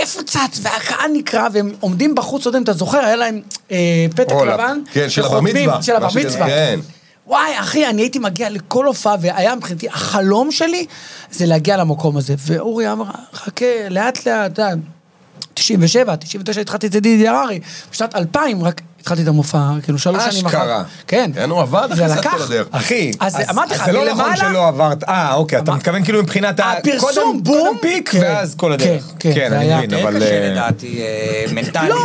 [SPEAKER 3] מפוצץ, והקהל נקרע, והם עומדים בחוץ, לא יודע אם אתה זוכר, היה להם אה, פתק
[SPEAKER 4] רולאפ.
[SPEAKER 3] לבן.
[SPEAKER 2] כן, של הבר
[SPEAKER 3] שחותמים,
[SPEAKER 2] מצווה.
[SPEAKER 3] של
[SPEAKER 2] מה
[SPEAKER 3] הבר
[SPEAKER 2] שכזה,
[SPEAKER 3] מצווה.
[SPEAKER 2] כן.
[SPEAKER 3] וואי, אחי, אני הייתי מגיע לכל הופעה, והיה מבחינתי, החלום שלי זה להגיע למקום הזה. ואורי אמר, חכה, לאט לאט, אה, אתה יודע, 97, 99 התחלתי את זה דידי הררי, בשנת 2000 רק התחלתי את המופע, כאילו שלוש שנים אחר.
[SPEAKER 4] אשכרה.
[SPEAKER 3] כן.
[SPEAKER 2] כן, הוא עבד
[SPEAKER 3] זה
[SPEAKER 2] אחרי זה את
[SPEAKER 3] לקח.
[SPEAKER 2] כל הדרך.
[SPEAKER 4] אחי,
[SPEAKER 3] אז אמרתי לך,
[SPEAKER 4] זה לא נכון
[SPEAKER 3] מלמעלה-
[SPEAKER 4] שלא עברת, אה, אוקיי, אתה
[SPEAKER 3] אמר-
[SPEAKER 4] מתכוון כאילו מבחינת ה-
[SPEAKER 3] הפרסום,
[SPEAKER 4] קודם-
[SPEAKER 3] בום.
[SPEAKER 4] קודם פיק,
[SPEAKER 3] כן,
[SPEAKER 4] ואז כל הדרך.
[SPEAKER 3] כן, כן,
[SPEAKER 4] כן,
[SPEAKER 3] זה
[SPEAKER 4] אני
[SPEAKER 3] היה-
[SPEAKER 4] מבין,
[SPEAKER 5] כן,
[SPEAKER 4] אבל...
[SPEAKER 5] קשה
[SPEAKER 4] אה,
[SPEAKER 5] לדעתי, אה, מנטלית.
[SPEAKER 3] לא,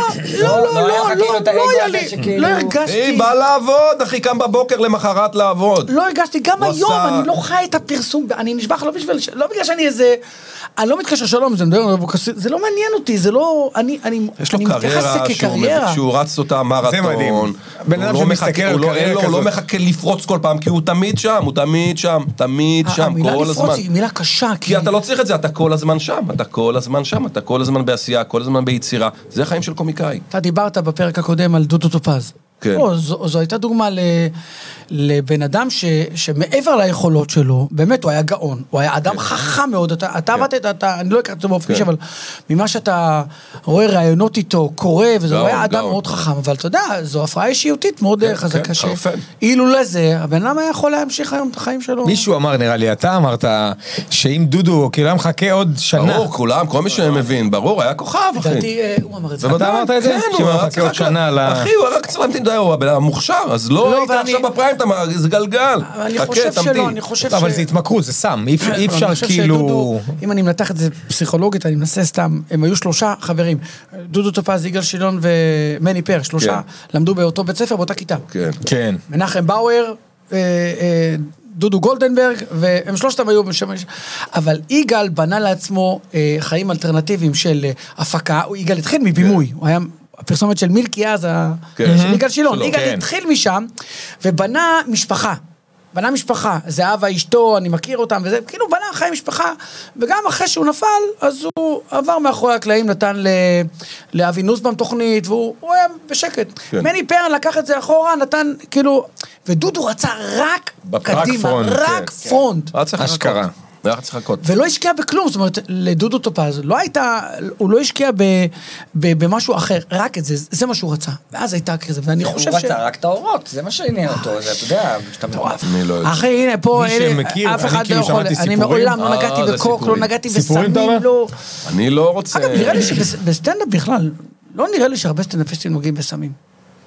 [SPEAKER 3] לא, לא,
[SPEAKER 5] היה לך
[SPEAKER 3] לא,
[SPEAKER 5] כאילו
[SPEAKER 3] לא,
[SPEAKER 5] את האגו
[SPEAKER 3] לא היה
[SPEAKER 5] הזה
[SPEAKER 3] לי,
[SPEAKER 5] שכאילו-
[SPEAKER 3] לא הרגשתי,
[SPEAKER 2] היא באה לעבוד, אחי, קם בבוקר למחרת לעבוד.
[SPEAKER 3] לא הרגשתי, גם
[SPEAKER 2] הוא
[SPEAKER 3] היום,
[SPEAKER 2] עשה-
[SPEAKER 3] אני לא חי את הפרסום, אני נשבע לך לא בשביל, ש- לא בגלל שאני איזה, אני לא מתקשר שלום, זה מדבר, זה לא מעניין אותי, זה לא, אני, אני,
[SPEAKER 2] יש לו
[SPEAKER 3] אני מתייחס
[SPEAKER 2] קריירה
[SPEAKER 3] לזה
[SPEAKER 2] שהוא
[SPEAKER 3] כקריירה.
[SPEAKER 2] מבין שהוא רץ אותה מרתון.
[SPEAKER 4] מדהים.
[SPEAKER 2] הוא
[SPEAKER 4] בן אדם
[SPEAKER 2] לא
[SPEAKER 4] שמסתכל
[SPEAKER 2] מחכה-
[SPEAKER 4] על
[SPEAKER 2] הוא לא-
[SPEAKER 4] קריירה
[SPEAKER 2] אין לו- הוא לא
[SPEAKER 4] כזאת.
[SPEAKER 2] מחכה לפרוץ כל פעם, כי הוא תמיד שם, הוא תמיד שם, תמיד שם,
[SPEAKER 3] אה, המילה
[SPEAKER 2] כל
[SPEAKER 3] לפרוץ
[SPEAKER 2] הזמן.
[SPEAKER 3] היא מילה קשה,
[SPEAKER 2] כי אתה לא צריך את זה, אתה כל הזמן שם, אתה כל הזמן שם, אתה כל הזמן בעשייה, כל הזמן ביצירה. זה החיים של קומיקאי.
[SPEAKER 3] אתה דיברת בפרק הקודם על דודו טופז.
[SPEAKER 2] כן.
[SPEAKER 3] או, זו, זו הייתה דוגמה ל, לבן אדם ש, שמעבר ליכולות שלו, באמת הוא היה גאון, הוא היה אדם כן. חכם מאוד, אתה, אתה עבדת, אתה, אתה, אני לא הכרתי אותו באופן
[SPEAKER 2] כן.
[SPEAKER 3] אישי, אבל ממה שאתה רואה ראיונות איתו, קורא, וזה, הוא
[SPEAKER 2] גאון,
[SPEAKER 3] היה אדם
[SPEAKER 2] גאון.
[SPEAKER 3] מאוד חכם, אבל אתה יודע, זו הפרעה אישיותית מאוד אה,
[SPEAKER 2] כן,
[SPEAKER 3] חזקה.
[SPEAKER 2] כן,
[SPEAKER 3] ש-
[SPEAKER 2] חרפן.
[SPEAKER 3] אילולא זה, הבן אדם היה יכול להמשיך היום את החיים שלו.
[SPEAKER 4] מישהו אמר, נראה לי, אתה אמרת, שאם דודו, כאילו היה מחכה עוד שנה.
[SPEAKER 2] ברור, כולם, כל מי שמבין, ברור, היה כוכב, אחי.
[SPEAKER 3] לדעתי, אה, הוא אמר את זה.
[SPEAKER 4] זה לא אתה אמרת את זה?
[SPEAKER 2] כן,
[SPEAKER 4] שהוא
[SPEAKER 2] הוא היה
[SPEAKER 4] מחכה עוד
[SPEAKER 2] צריך...
[SPEAKER 4] שנה ל...
[SPEAKER 2] אחי, הוא היה רק צמנתי די, הוא הבן אדם המוכשר, אז
[SPEAKER 3] לא,
[SPEAKER 2] לא היית
[SPEAKER 3] אבל
[SPEAKER 2] עכשיו
[SPEAKER 3] אני-
[SPEAKER 2] בפריים, אתה מ- זה גלגל.
[SPEAKER 3] אבל אני
[SPEAKER 2] חכה,
[SPEAKER 3] חושב שלא,
[SPEAKER 2] תמתין.
[SPEAKER 3] אני חושב
[SPEAKER 4] אבל
[SPEAKER 3] ש-
[SPEAKER 4] זה התמכרות, זה סם,
[SPEAKER 3] [laughs]
[SPEAKER 4] אי אפשר- אי
[SPEAKER 3] אבל
[SPEAKER 4] אפשר
[SPEAKER 3] אני חושב
[SPEAKER 4] כאילו...
[SPEAKER 3] שדודו, אם אני מנתח את זה פסיכולוגית, אני מנסה סתם, הם היו שלושה חברים, דודו טופז, יגאל שילון ומני פר, שלושה, למדו באותו בית ספר, באותה כיתה.
[SPEAKER 2] כן.
[SPEAKER 4] כן.
[SPEAKER 3] מנחם באואר, אה, אה, דודו גולדנברג, והם שלושתם היו בשם... אבל יגאל בנה לעצמו אה, חיים אלטרנטיביים של אה, הפקה, הוא- יגאל התחיל מבימוי, הוא היה... הפרסומת של מילקי אז, ה-
[SPEAKER 2] כן.
[SPEAKER 3] של יגאל שילון,
[SPEAKER 2] שלו,
[SPEAKER 3] יגאל
[SPEAKER 4] כן.
[SPEAKER 3] התחיל משם, ובנה משפחה. בנה משפחה, זהבה אשתו, אני מכיר אותם, וזה, כאילו בנה חיי משפחה, וגם אחרי שהוא נפל, אז הוא עבר מאחורי הקלעים, נתן ל- לאבי נוסבאום תוכנית, והוא הוא היה בשקט.
[SPEAKER 2] כן.
[SPEAKER 3] מני פרן לקח את זה אחורה, נתן, כאילו... ודודו רצה רק
[SPEAKER 4] בפרק
[SPEAKER 3] קדימה,
[SPEAKER 4] פרונט,
[SPEAKER 3] רק
[SPEAKER 4] כן.
[SPEAKER 3] פרונט.
[SPEAKER 2] לא היה צריך לחכות.
[SPEAKER 4] אשכרה.
[SPEAKER 2] לא היה צריך לחכות.
[SPEAKER 3] ולא השקיע בכלום, זאת אומרת, לדודו טופז, לא הייתה, הוא לא השקיע ב, ב, במשהו אחר, רק את זה, זה מה שהוא רצה. ואז הייתה כזה, ואני חושב
[SPEAKER 5] הוא
[SPEAKER 3] ש... אה,
[SPEAKER 5] רצה רק את האורות, זה מה שעניין אותו, זה, אתה יודע, כשאתה
[SPEAKER 3] מטורף.
[SPEAKER 2] אני לא יודע.
[SPEAKER 3] אחי, הנה, פה,
[SPEAKER 4] מי
[SPEAKER 3] אין-
[SPEAKER 4] שמכיר,
[SPEAKER 3] אף
[SPEAKER 4] אני
[SPEAKER 3] אחד לא
[SPEAKER 4] כאילו
[SPEAKER 3] יכול,
[SPEAKER 4] שמעתי
[SPEAKER 3] אני
[SPEAKER 4] סיפורים.
[SPEAKER 3] מעולם לא
[SPEAKER 2] אה,
[SPEAKER 3] נגעתי
[SPEAKER 2] זה
[SPEAKER 3] בקוק, לא
[SPEAKER 2] סיפורים.
[SPEAKER 3] נגעתי בסמים,
[SPEAKER 4] סיפורים, אתה אומר?
[SPEAKER 3] לא...
[SPEAKER 2] אני לא רוצה...
[SPEAKER 3] אגב, נראה לי שבסטנדאפ בכלל, לא נראה לי שהרבה סטנדאפיסטים נוגעים בסמים.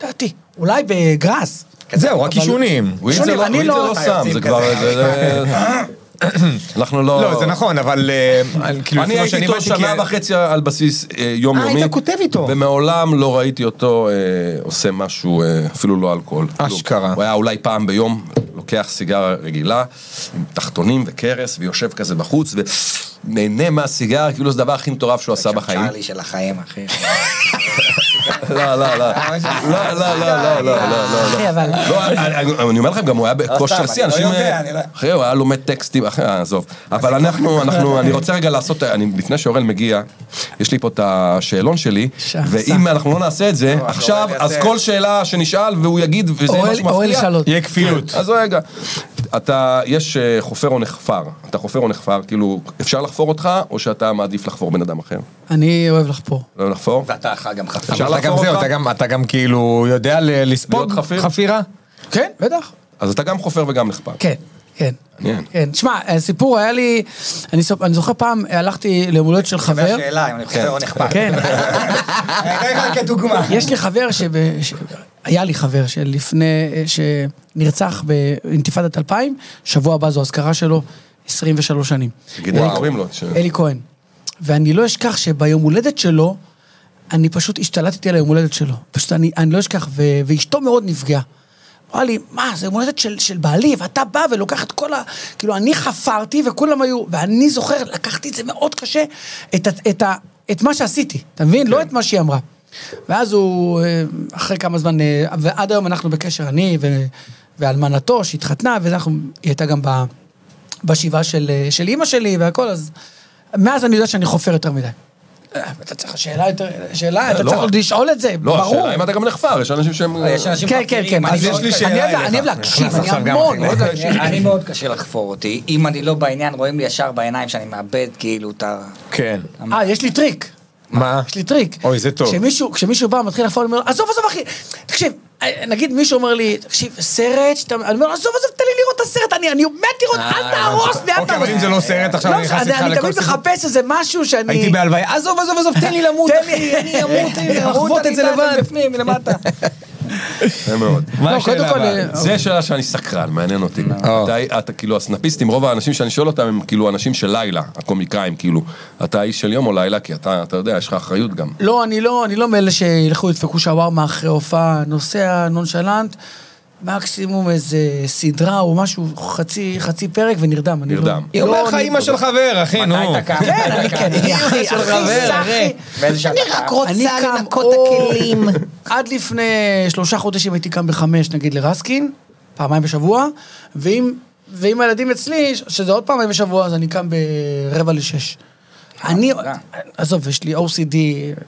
[SPEAKER 3] דעתי. אולי בגראס.
[SPEAKER 4] זהו, רק עישונים.
[SPEAKER 2] וויד זה
[SPEAKER 3] שונים,
[SPEAKER 2] לא-
[SPEAKER 3] אני
[SPEAKER 2] וויד זה
[SPEAKER 3] לא-
[SPEAKER 2] לא סם, זה כבר... זה- זה- אנחנו לא...
[SPEAKER 4] לא, זה נכון, אבל אה, אני- כאילו,
[SPEAKER 2] אני
[SPEAKER 4] לפי מה
[SPEAKER 2] הייתי
[SPEAKER 4] שאני
[SPEAKER 2] איתו
[SPEAKER 4] הבנתי,
[SPEAKER 2] שנה
[SPEAKER 4] כי-
[SPEAKER 2] וחצי על בסיס אה, יומיומי.
[SPEAKER 4] היית כותב איתו.
[SPEAKER 2] ומעולם לא ראיתי אותו אה, עושה משהו, אה, אפילו לא אלכוהול. כלום.
[SPEAKER 4] אשכרה.
[SPEAKER 2] הוא היה אולי פעם ביום, לוקח סיגריה רגילה, עם תחתונים וכרס, ויושב כזה בחוץ, ונהנה מהסיגריה, כאילו זה הדבר הכי מטורף שהוא עשה בחיים.
[SPEAKER 5] צ'ארלי של החיים, אחי.
[SPEAKER 2] לא, לא,
[SPEAKER 3] [laughs]
[SPEAKER 2] לא. לא, לא, לא, לא, לא, לא, לא.
[SPEAKER 3] אחי, אבל-
[SPEAKER 2] לא, אני- אני אני אומר לכם, גם הוא היה
[SPEAKER 5] סתם,
[SPEAKER 2] בכושר שיא,
[SPEAKER 5] אני לא
[SPEAKER 2] אנשים...
[SPEAKER 5] יודע,
[SPEAKER 2] אה,
[SPEAKER 5] אני לא-
[SPEAKER 2] אחי, הוא היה לומד טקסטים, אחי, אה, עזוב. אבל אנחנו, אנחנו, אני רוצה רגע לעשות, אני- לפני שאורל מגיע, יש לי פה את השאלון שלי,
[SPEAKER 3] שם,
[SPEAKER 2] ואם אנחנו לא נעשה את זה,
[SPEAKER 5] אז
[SPEAKER 2] עכשיו,
[SPEAKER 5] אורל
[SPEAKER 2] אז
[SPEAKER 5] יעשה.
[SPEAKER 2] כל שאלה שנשאל, והוא יגיד, וזה
[SPEAKER 3] אורל-
[SPEAKER 2] משהו מפתיע.
[SPEAKER 3] אורל ישאל עוד.
[SPEAKER 4] יהיה כפילות.
[SPEAKER 2] אז רגע, אתה, יש אה, חופר או נחפר, אתה חופר או נחפר, כאילו, אפשר לחפור אותך, או שאתה מעדיף לחפור בן אדם אחר?
[SPEAKER 3] אני אוהב לחפור.
[SPEAKER 2] לא לחפור?
[SPEAKER 5] ואתה אחר גם חפר.
[SPEAKER 2] אפשר
[SPEAKER 4] אבל אתה גם
[SPEAKER 2] לחפור
[SPEAKER 4] זהו,
[SPEAKER 2] אותך?
[SPEAKER 4] אתה גם- אתה גם כאילו יודע ל- לספוג
[SPEAKER 2] להיות חפיר?
[SPEAKER 4] חפירה?
[SPEAKER 3] כן, בטח.
[SPEAKER 2] אז אתה גם חופר וגם נחפר.
[SPEAKER 3] כן. כן.
[SPEAKER 2] מעניין.
[SPEAKER 3] כן, תשמע, הסיפור היה לי, אני סופ- אני זוכר פעם, הלכתי ליום הולדת של
[SPEAKER 5] זו
[SPEAKER 3] חבר,
[SPEAKER 5] השאלה, אם אני חוזר או נחפר.
[SPEAKER 3] כן,
[SPEAKER 5] אני אתן לך כדוגמה.
[SPEAKER 3] יש לי חבר שב... ש... היה לי חבר שלפני... שנרצח באינתיפאדת 2000, שבוע הבא זו אזכרה שלו, 23 שנים.
[SPEAKER 2] תגיד איך קוראים לו. ש-
[SPEAKER 3] אלי כהן. ואני לא אשכח שביום הולדת שלו, אני פשוט השתלטתי על היום הולדת שלו. פשוט אני, אני לא אשכח, ו, ואשתו מאוד נפגעה. אמרה לי, מה, זה יום הולדת של, של בעלי, ואתה בא ולוקח את כל ה... כאילו, אני חפרתי וכולם היו... ואני זוכר, לקחתי את זה מאוד קשה, את, ה- את, ה- את מה שעשיתי, אתה מבין? כן. לא את מה שהיא אמרה. ואז הוא, אה, אחרי כמה זמן, אה, ועד היום אנחנו בקשר, אני ו, ואלמנתו שהתחתנה, ואנחנו, היא הייתה גם ב... בשבעה של, אה, של אימא שלי והכל, אז מאז אני יודע שאני חופר יותר מדי. אה, אתה צריך שאלה יותר, שאלה, אתה
[SPEAKER 2] לא.
[SPEAKER 3] צריך עוד לשאול את זה,
[SPEAKER 2] לא,
[SPEAKER 3] ברור.
[SPEAKER 2] השאלה אם אתה גם נחפר, יש אנשים שהם... אה,
[SPEAKER 5] יש אנשים
[SPEAKER 3] כן, כן,
[SPEAKER 5] חפירים,
[SPEAKER 3] כן,
[SPEAKER 5] אני
[SPEAKER 3] אז
[SPEAKER 5] מאוד
[SPEAKER 3] יש לי
[SPEAKER 5] קשה-
[SPEAKER 3] שאלה
[SPEAKER 5] אליך.
[SPEAKER 3] אליך. אני אוהב להקשיב,
[SPEAKER 4] נכנס
[SPEAKER 3] אני
[SPEAKER 4] עכשיו גם
[SPEAKER 3] המון, לא
[SPEAKER 4] אחי.
[SPEAKER 3] מאוד להקשיב.
[SPEAKER 5] אני מאוד קשה לחפור אותי. אם אני לא בעניין, רואים לי ישר בעיניים שאני מאבד כאילו את ה...
[SPEAKER 4] כן.
[SPEAKER 3] אה, יש לי טריק.
[SPEAKER 4] מה?
[SPEAKER 3] יש לי טריק.
[SPEAKER 4] אוי, זה טוב.
[SPEAKER 3] כשמישהו, כשמישהו בא, מתחיל לפעול, אני אומר לו, עזוב, עזוב, אחי, תקשיב, אה, נגיד מישהו אומר לי, תקשיב, סרט, שאתה... אני אומר לו, עזוב, עזוב, תן לי לראות את הסרט, אני אני מת לראות, אל תהרוס לי, אל
[SPEAKER 4] אוקיי,
[SPEAKER 3] תהרוס.
[SPEAKER 4] אבל אם זה לא סרט, עכשיו
[SPEAKER 3] לא,
[SPEAKER 4] אני נכנס איתך
[SPEAKER 3] אני
[SPEAKER 4] לכל
[SPEAKER 3] תמיד
[SPEAKER 4] סיפור.
[SPEAKER 3] מחפש איזה משהו שאני...
[SPEAKER 4] הייתי בהלוויה, עזוב, עזוב, עזוב,
[SPEAKER 3] [laughs]
[SPEAKER 4] תן לי למות,
[SPEAKER 3] תן
[SPEAKER 4] אחי,
[SPEAKER 3] לי.
[SPEAKER 4] אני אמות, תן לי
[SPEAKER 5] תחוות
[SPEAKER 4] לחוות את זה
[SPEAKER 5] אני יודעת,
[SPEAKER 4] לבד.
[SPEAKER 3] [laughs]
[SPEAKER 5] מבפנים, מלמטה.
[SPEAKER 2] יפה מאוד.
[SPEAKER 4] מה
[SPEAKER 3] לא,
[SPEAKER 4] השאלה
[SPEAKER 3] קודם כל,
[SPEAKER 4] הבאה?
[SPEAKER 3] אה,
[SPEAKER 2] זה שאלה שאני סקרן, מעניין אותי. אתה, אתה כאילו הסנאפיסטים, רוב האנשים שאני שואל אותם הם כאילו אנשים של לילה, הקומיקאים כאילו. אתה איש של יום או לילה? כי אתה, אתה יודע, יש לך אחריות גם.
[SPEAKER 3] לא, אני לא, אני לא מאלה שילכו ידפקו שווארמה אחרי הופעה, נוסע נונשלנט, מקסימום איזה סדרה או משהו, חצי, חצי פרק ונרדם. אני לא-
[SPEAKER 2] נרדם.
[SPEAKER 4] היא
[SPEAKER 3] לא,
[SPEAKER 4] אומרת לך
[SPEAKER 3] אני-
[SPEAKER 4] אימא של חבר, אחי, נו.
[SPEAKER 5] מתי אתה קם?
[SPEAKER 3] כן, אני כן, אני הכי,
[SPEAKER 1] של
[SPEAKER 3] הכי
[SPEAKER 1] חבר,
[SPEAKER 3] סאחי.
[SPEAKER 5] באיזה שעה
[SPEAKER 1] אני
[SPEAKER 5] אתה
[SPEAKER 1] רק
[SPEAKER 5] קם?
[SPEAKER 1] רוצה
[SPEAKER 3] אני קם
[SPEAKER 1] לנקות את
[SPEAKER 3] אור.
[SPEAKER 1] הכלים.
[SPEAKER 3] עד לפני שלושה חודשים הייתי קם בחמש, נגיד לרסקין, פעמיים בשבוע, ואם, ואם הילדים אצלי, ש- שזה עוד פעמיים בשבוע, אז אני קם ברבע לשש. אני,
[SPEAKER 5] תודה.
[SPEAKER 3] עזוב, יש לי OCD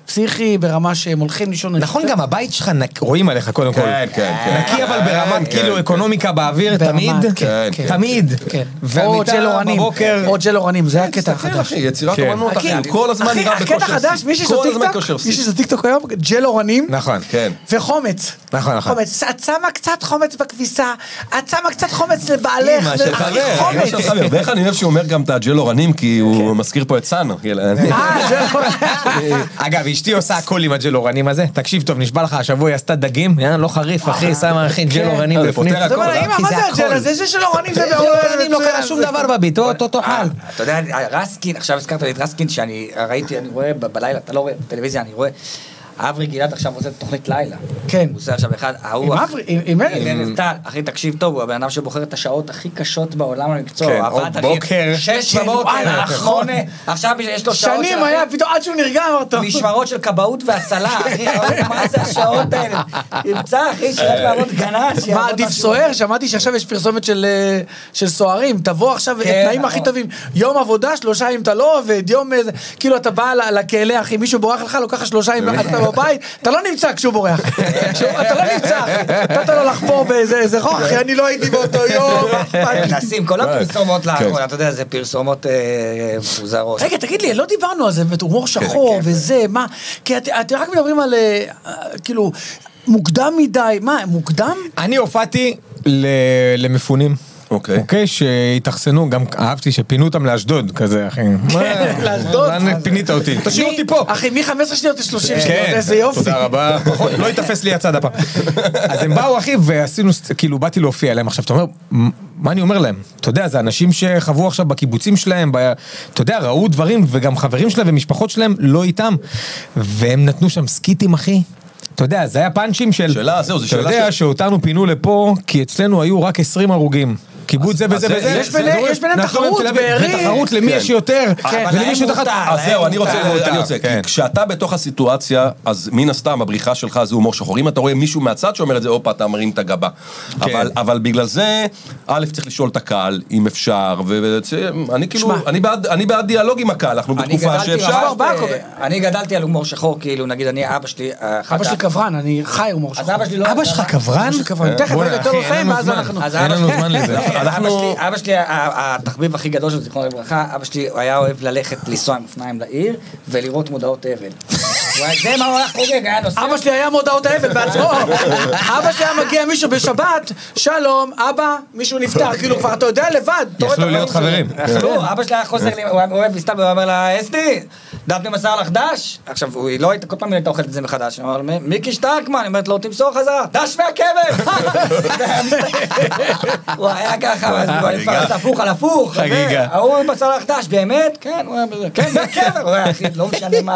[SPEAKER 3] פסיכי ברמה שהם הולכים לישון. אני
[SPEAKER 4] נכון,
[SPEAKER 3] חושב-
[SPEAKER 4] גם הבית שלך, נק- רואים עליך קודם כל.
[SPEAKER 2] כן, כן, כן.
[SPEAKER 4] נקי אבל
[SPEAKER 2] כן,
[SPEAKER 4] ברמת כאילו
[SPEAKER 2] כן.
[SPEAKER 4] אקונומיקה באוויר, תמיד.
[SPEAKER 3] ברמת,
[SPEAKER 2] כן, כן. כן,
[SPEAKER 4] תמיד.
[SPEAKER 3] כן. או
[SPEAKER 4] והמיטה
[SPEAKER 3] ג'ל אורנים,
[SPEAKER 4] בבוקר.
[SPEAKER 3] או ג'ל אורנים, זה הקטע
[SPEAKER 2] תסתכל,
[SPEAKER 3] החדש.
[SPEAKER 2] אחי, יצירת
[SPEAKER 4] כן.
[SPEAKER 2] אומנות, אחי,
[SPEAKER 3] אחי,
[SPEAKER 2] הוא כל הזמן
[SPEAKER 3] אחי,
[SPEAKER 2] נראה בכושר
[SPEAKER 3] הקטע החדש, מי שיש לו
[SPEAKER 2] כל הזמן
[SPEAKER 3] טיקטוק,
[SPEAKER 2] כושר
[SPEAKER 3] מי
[SPEAKER 2] שיא.
[SPEAKER 3] שיש לו טיקטוק היום, ג'ל אורנים,
[SPEAKER 4] נכון.
[SPEAKER 2] כן.
[SPEAKER 3] וחומץ.
[SPEAKER 4] נכון, נכון.
[SPEAKER 3] חומץ. את שמה קצת חומץ בכביסה, את שמה קצת חומץ לבעלך.
[SPEAKER 4] אמא
[SPEAKER 3] זה-
[SPEAKER 4] של
[SPEAKER 3] אחי,
[SPEAKER 4] חבר,
[SPEAKER 2] אמא
[SPEAKER 3] חומץ.
[SPEAKER 2] של חבר. כן, ואיך אני אוהב שהוא אומר גם את הג'ל אורנים, כי הוא מזכיר פה את סאנו. כאילו, אני-
[SPEAKER 3] כן. אה, זה לא...
[SPEAKER 4] [laughs] אגב, אשתי עושה הכל עם הג'ל אורנים הזה. תקשיב טוב, נשבע לך, השבוע היא עשתה דגים, יאללה, לא חריף,
[SPEAKER 3] אה,
[SPEAKER 4] אחי, שמה אחי ג'ל אורנים
[SPEAKER 2] אה, זה
[SPEAKER 4] בפנים.
[SPEAKER 2] פותר
[SPEAKER 3] אתה אומר
[SPEAKER 2] הכל,
[SPEAKER 3] לה,
[SPEAKER 2] אה?
[SPEAKER 3] כן. אמא, מה
[SPEAKER 4] כי זה
[SPEAKER 3] זה
[SPEAKER 4] הכל.
[SPEAKER 3] הג'ל הזה זה של אורנים זה
[SPEAKER 4] ג'ל אורנים, לא קרה שום דבר בביט, או אותו
[SPEAKER 5] אה,
[SPEAKER 4] תאכל.
[SPEAKER 5] אתה יודע, רסקין, עכשיו הזכרת לי את רסקין, שאני ראיתי, אני רואה ב- בלילה, אתה לא רואה בטלוויזיה, אני רואה. אברי גלעד עכשיו עושה תוכנית לילה.
[SPEAKER 3] כן.
[SPEAKER 4] לא,
[SPEAKER 5] הוא עושה עכשיו אחד, ההוא...
[SPEAKER 3] עם
[SPEAKER 5] אח-
[SPEAKER 3] אברי, עם- עם ארז.
[SPEAKER 5] ארז טל. אחי, תקשיב טוב, הוא הבן אדם שבוחר את השעות הכי קשות בעולם למקצוע.
[SPEAKER 4] כן,
[SPEAKER 5] הוא עבד,
[SPEAKER 4] עוד
[SPEAKER 5] אחי,
[SPEAKER 4] בוקר.
[SPEAKER 5] שש
[SPEAKER 3] כן,
[SPEAKER 5] בבוקר,
[SPEAKER 3] וואלה,
[SPEAKER 5] נכון. עכשיו יש לו שעות...
[SPEAKER 3] שנים
[SPEAKER 5] של-
[SPEAKER 3] היה, פתאום עד שהוא נרגע, אמרת.
[SPEAKER 5] משמרות של כבאות והצלה, אחי, מה זה השעות האלה? תמצא, אחי, שילך לעבוד גנן, שיעבוד
[SPEAKER 3] מה עדיף
[SPEAKER 5] משהו.
[SPEAKER 3] סוער? שמעתי שעכשיו יש פרסומת של, אה, של סוהרים, תבוא עכשיו,
[SPEAKER 5] כן,
[SPEAKER 3] התנאים
[SPEAKER 5] נכון.
[SPEAKER 3] הכי טובים, יום עבודה, שלושה אם אתה לא עובד, יום איזה, כאילו אתה בא ל- לכלא, אחי, מישהו בורח לך, לוקח לך שלושה אם
[SPEAKER 4] [laughs]
[SPEAKER 3] אתה בבית, אתה לא נמצא כשהוא בורח. כשהוא- אתה לא נמצא, אחי. נתת לו לחפור באיזה איזה חור, אחי, אני לא הייתי
[SPEAKER 4] [laughs]
[SPEAKER 3] באותו יום. מה אכפת לי?
[SPEAKER 5] כן, נשים כל הפרסומות
[SPEAKER 2] כן.
[SPEAKER 5] לאחרונה, אתה יודע, זה פרסומות אה, מוזרות.
[SPEAKER 3] רגע, תגיד לי, לא דיברנו על זה, באמת,
[SPEAKER 4] כן,
[SPEAKER 3] הומור שחור וזה, מה, כי את- אתם רק מדברים על, אה, אה, כאילו, מוקדם מדי, מה, מוקדם?
[SPEAKER 4] אני הופעתי ל- למפונים.
[SPEAKER 2] אוקיי.
[SPEAKER 4] אוקיי, שהתאכסנו, גם אהבתי שפינו אותם לאשדוד כזה, אחי. מה-
[SPEAKER 3] לאשדוד.
[SPEAKER 4] לאן פינית אותי? תשאיר אותי פה.
[SPEAKER 3] אחי, מ-15 שניות ל-30 שניות,
[SPEAKER 4] כן,
[SPEAKER 3] איזה יופי.
[SPEAKER 4] תודה רבה, פחות, לא ייתפס לי הצד הפעם. אז הם באו אחי ועשינו, ס- כאילו באתי להופיע להם עכשיו, אתה אומר, "מ- מה אני אומר להם? אתה יודע, זה אנשים שחוו עכשיו בקיבוצים שלהם, ב- אתה יודע, ראו דברים, וגם חברים שלהם ומשפחות שלהם לא איתם, והם נתנו שם סקיטים אחי. אתה יודע, זה היה פאנצ'ים של...
[SPEAKER 2] שאלה, זהו, זו שאלה
[SPEAKER 4] אתה יודע
[SPEAKER 2] ש-
[SPEAKER 4] שאותנו פינו לפה, כי אצלנו היו רק 20 הרוגים. קיבוץ זה וזה
[SPEAKER 2] זה-
[SPEAKER 4] וזה.
[SPEAKER 2] יש ביניהם-
[SPEAKER 4] אנחנו
[SPEAKER 3] יש ביניהם
[SPEAKER 4] אומרים,
[SPEAKER 3] תחרות,
[SPEAKER 4] תל אביב,
[SPEAKER 3] בארי.
[SPEAKER 4] ותחרות למי
[SPEAKER 2] כן.
[SPEAKER 4] יש יותר, ולמי
[SPEAKER 5] להם
[SPEAKER 4] יש יותר
[SPEAKER 5] מותר,
[SPEAKER 4] אחת.
[SPEAKER 2] אז זהו, אני
[SPEAKER 4] מותר,
[SPEAKER 2] רוצה, אני
[SPEAKER 4] מותר,
[SPEAKER 2] רוצה,
[SPEAKER 4] כן.
[SPEAKER 2] כי כשאתה בתוך הסיטואציה, אז מן הסתם הבריחה שלך זה הומור שחור. אם אתה רואה מישהו מהצד שאומר את זה, הופה, אתה מרים את הגבה.
[SPEAKER 4] כן.
[SPEAKER 2] אבל- אבל בגלל זה, א', צריך לשאול את הקהל, אם אפשר, ואני כאילו,
[SPEAKER 3] שמע.
[SPEAKER 2] אני בעד- אני בעד דיאלוג עם הקהל, אנחנו
[SPEAKER 5] אני
[SPEAKER 2] בתקופה
[SPEAKER 5] גדלתי
[SPEAKER 2] שאפשר.
[SPEAKER 5] ממש ב- לא, אה, אני גדלתי על הומור שחור, כאילו, נגיד, אני, אבא שלי... אה, אחת
[SPEAKER 3] אבא שלי
[SPEAKER 5] ה-
[SPEAKER 3] קברן, אני חי הומור שלך.
[SPEAKER 5] אז אבא שלי לא...
[SPEAKER 4] אבא שלך
[SPEAKER 3] אבא
[SPEAKER 4] קברן?
[SPEAKER 3] שלי קברן. תכף,
[SPEAKER 4] בוא'נה,
[SPEAKER 3] רגע, תן
[SPEAKER 4] אחי,
[SPEAKER 3] לו
[SPEAKER 4] אין
[SPEAKER 3] לסיים,
[SPEAKER 4] לנו
[SPEAKER 3] ואז
[SPEAKER 4] זמן.
[SPEAKER 3] אנחנו...
[SPEAKER 5] אז
[SPEAKER 4] אין
[SPEAKER 5] אבא
[SPEAKER 4] לנו
[SPEAKER 5] שלי- אוקיי,
[SPEAKER 4] זמן לזה.
[SPEAKER 5] אבא
[SPEAKER 2] אנחנו-
[SPEAKER 5] שלי- אבא שלי, ה- ה- התחביב הכי גדול שלו, זיכרונו לברכה, אבא שלי היה אוהב ללכת לנסוע עם אופניים לעיר ולראות מודעות אבל. וואי, זה מה הוא היה חוגג, היה נוסע.
[SPEAKER 3] אבא שלי היה מודעות האבל בעצמו. אבא שלי היה מגיע מישהו בשבת, שלום, אבא, מישהו נפטר, כאילו כבר אתה יודע לבד. אתה רואה את
[SPEAKER 4] יכלו להיות
[SPEAKER 3] החברים
[SPEAKER 4] חברים.
[SPEAKER 3] שלו.
[SPEAKER 2] כן.
[SPEAKER 5] אכלו, אבא שלי היה חוזר לי, הוא היה אוהב מסתבר, הוא אומר לה, אסתי, דפני מסר לך דש? עכשיו, הוא היא לא הייתה, כל פעם היא הייתה אוכלת את זה מחדש. הוא אמר, "מ- מיקי שטרקמן, היא אומרת לו, תמסור חזרה, דש מהכבש! [laughs] הוא היה ככה, אז הוא היה
[SPEAKER 2] חגיגה.
[SPEAKER 5] מפרס הפוך על הפוך.
[SPEAKER 4] חגיגה.
[SPEAKER 5] זה, ההוא מסר לך דש, באמת? כן, הוא היה בזה, כן, מהכבש, הוא היה הכי, לא משנה מה.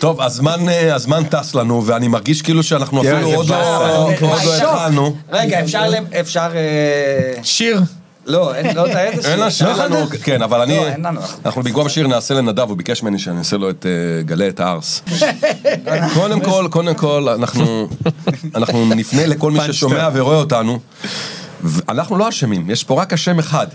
[SPEAKER 2] טוב, הזמן, אה, הזמן טס לנו, ואני מרגיש כאילו שאנחנו
[SPEAKER 4] יאללה,
[SPEAKER 2] אפילו
[SPEAKER 4] זה
[SPEAKER 2] עוד לא
[SPEAKER 4] כבר-
[SPEAKER 2] עוד
[SPEAKER 5] אה,
[SPEAKER 2] לא
[SPEAKER 5] שוק.
[SPEAKER 2] התחלנו.
[SPEAKER 5] רגע, אפשר, ל- אפשר, אה,
[SPEAKER 4] שיר.
[SPEAKER 5] לא, אין, לא יודע איזה
[SPEAKER 2] [laughs]
[SPEAKER 5] שיר.
[SPEAKER 2] אין לה שיר לנו, כן, אבל אני,
[SPEAKER 5] לא, אין לנו.
[SPEAKER 2] אנחנו במקום שיר נעשה לנדב, הוא ביקש ממני שאני אעשה לו את אה, גלה את הארס. קודם כל, קודם כל, אנחנו אנחנו נפנה לכל מי ששומע ורואה אותנו. אנחנו לא אשמים, יש פה רק אשם אחד.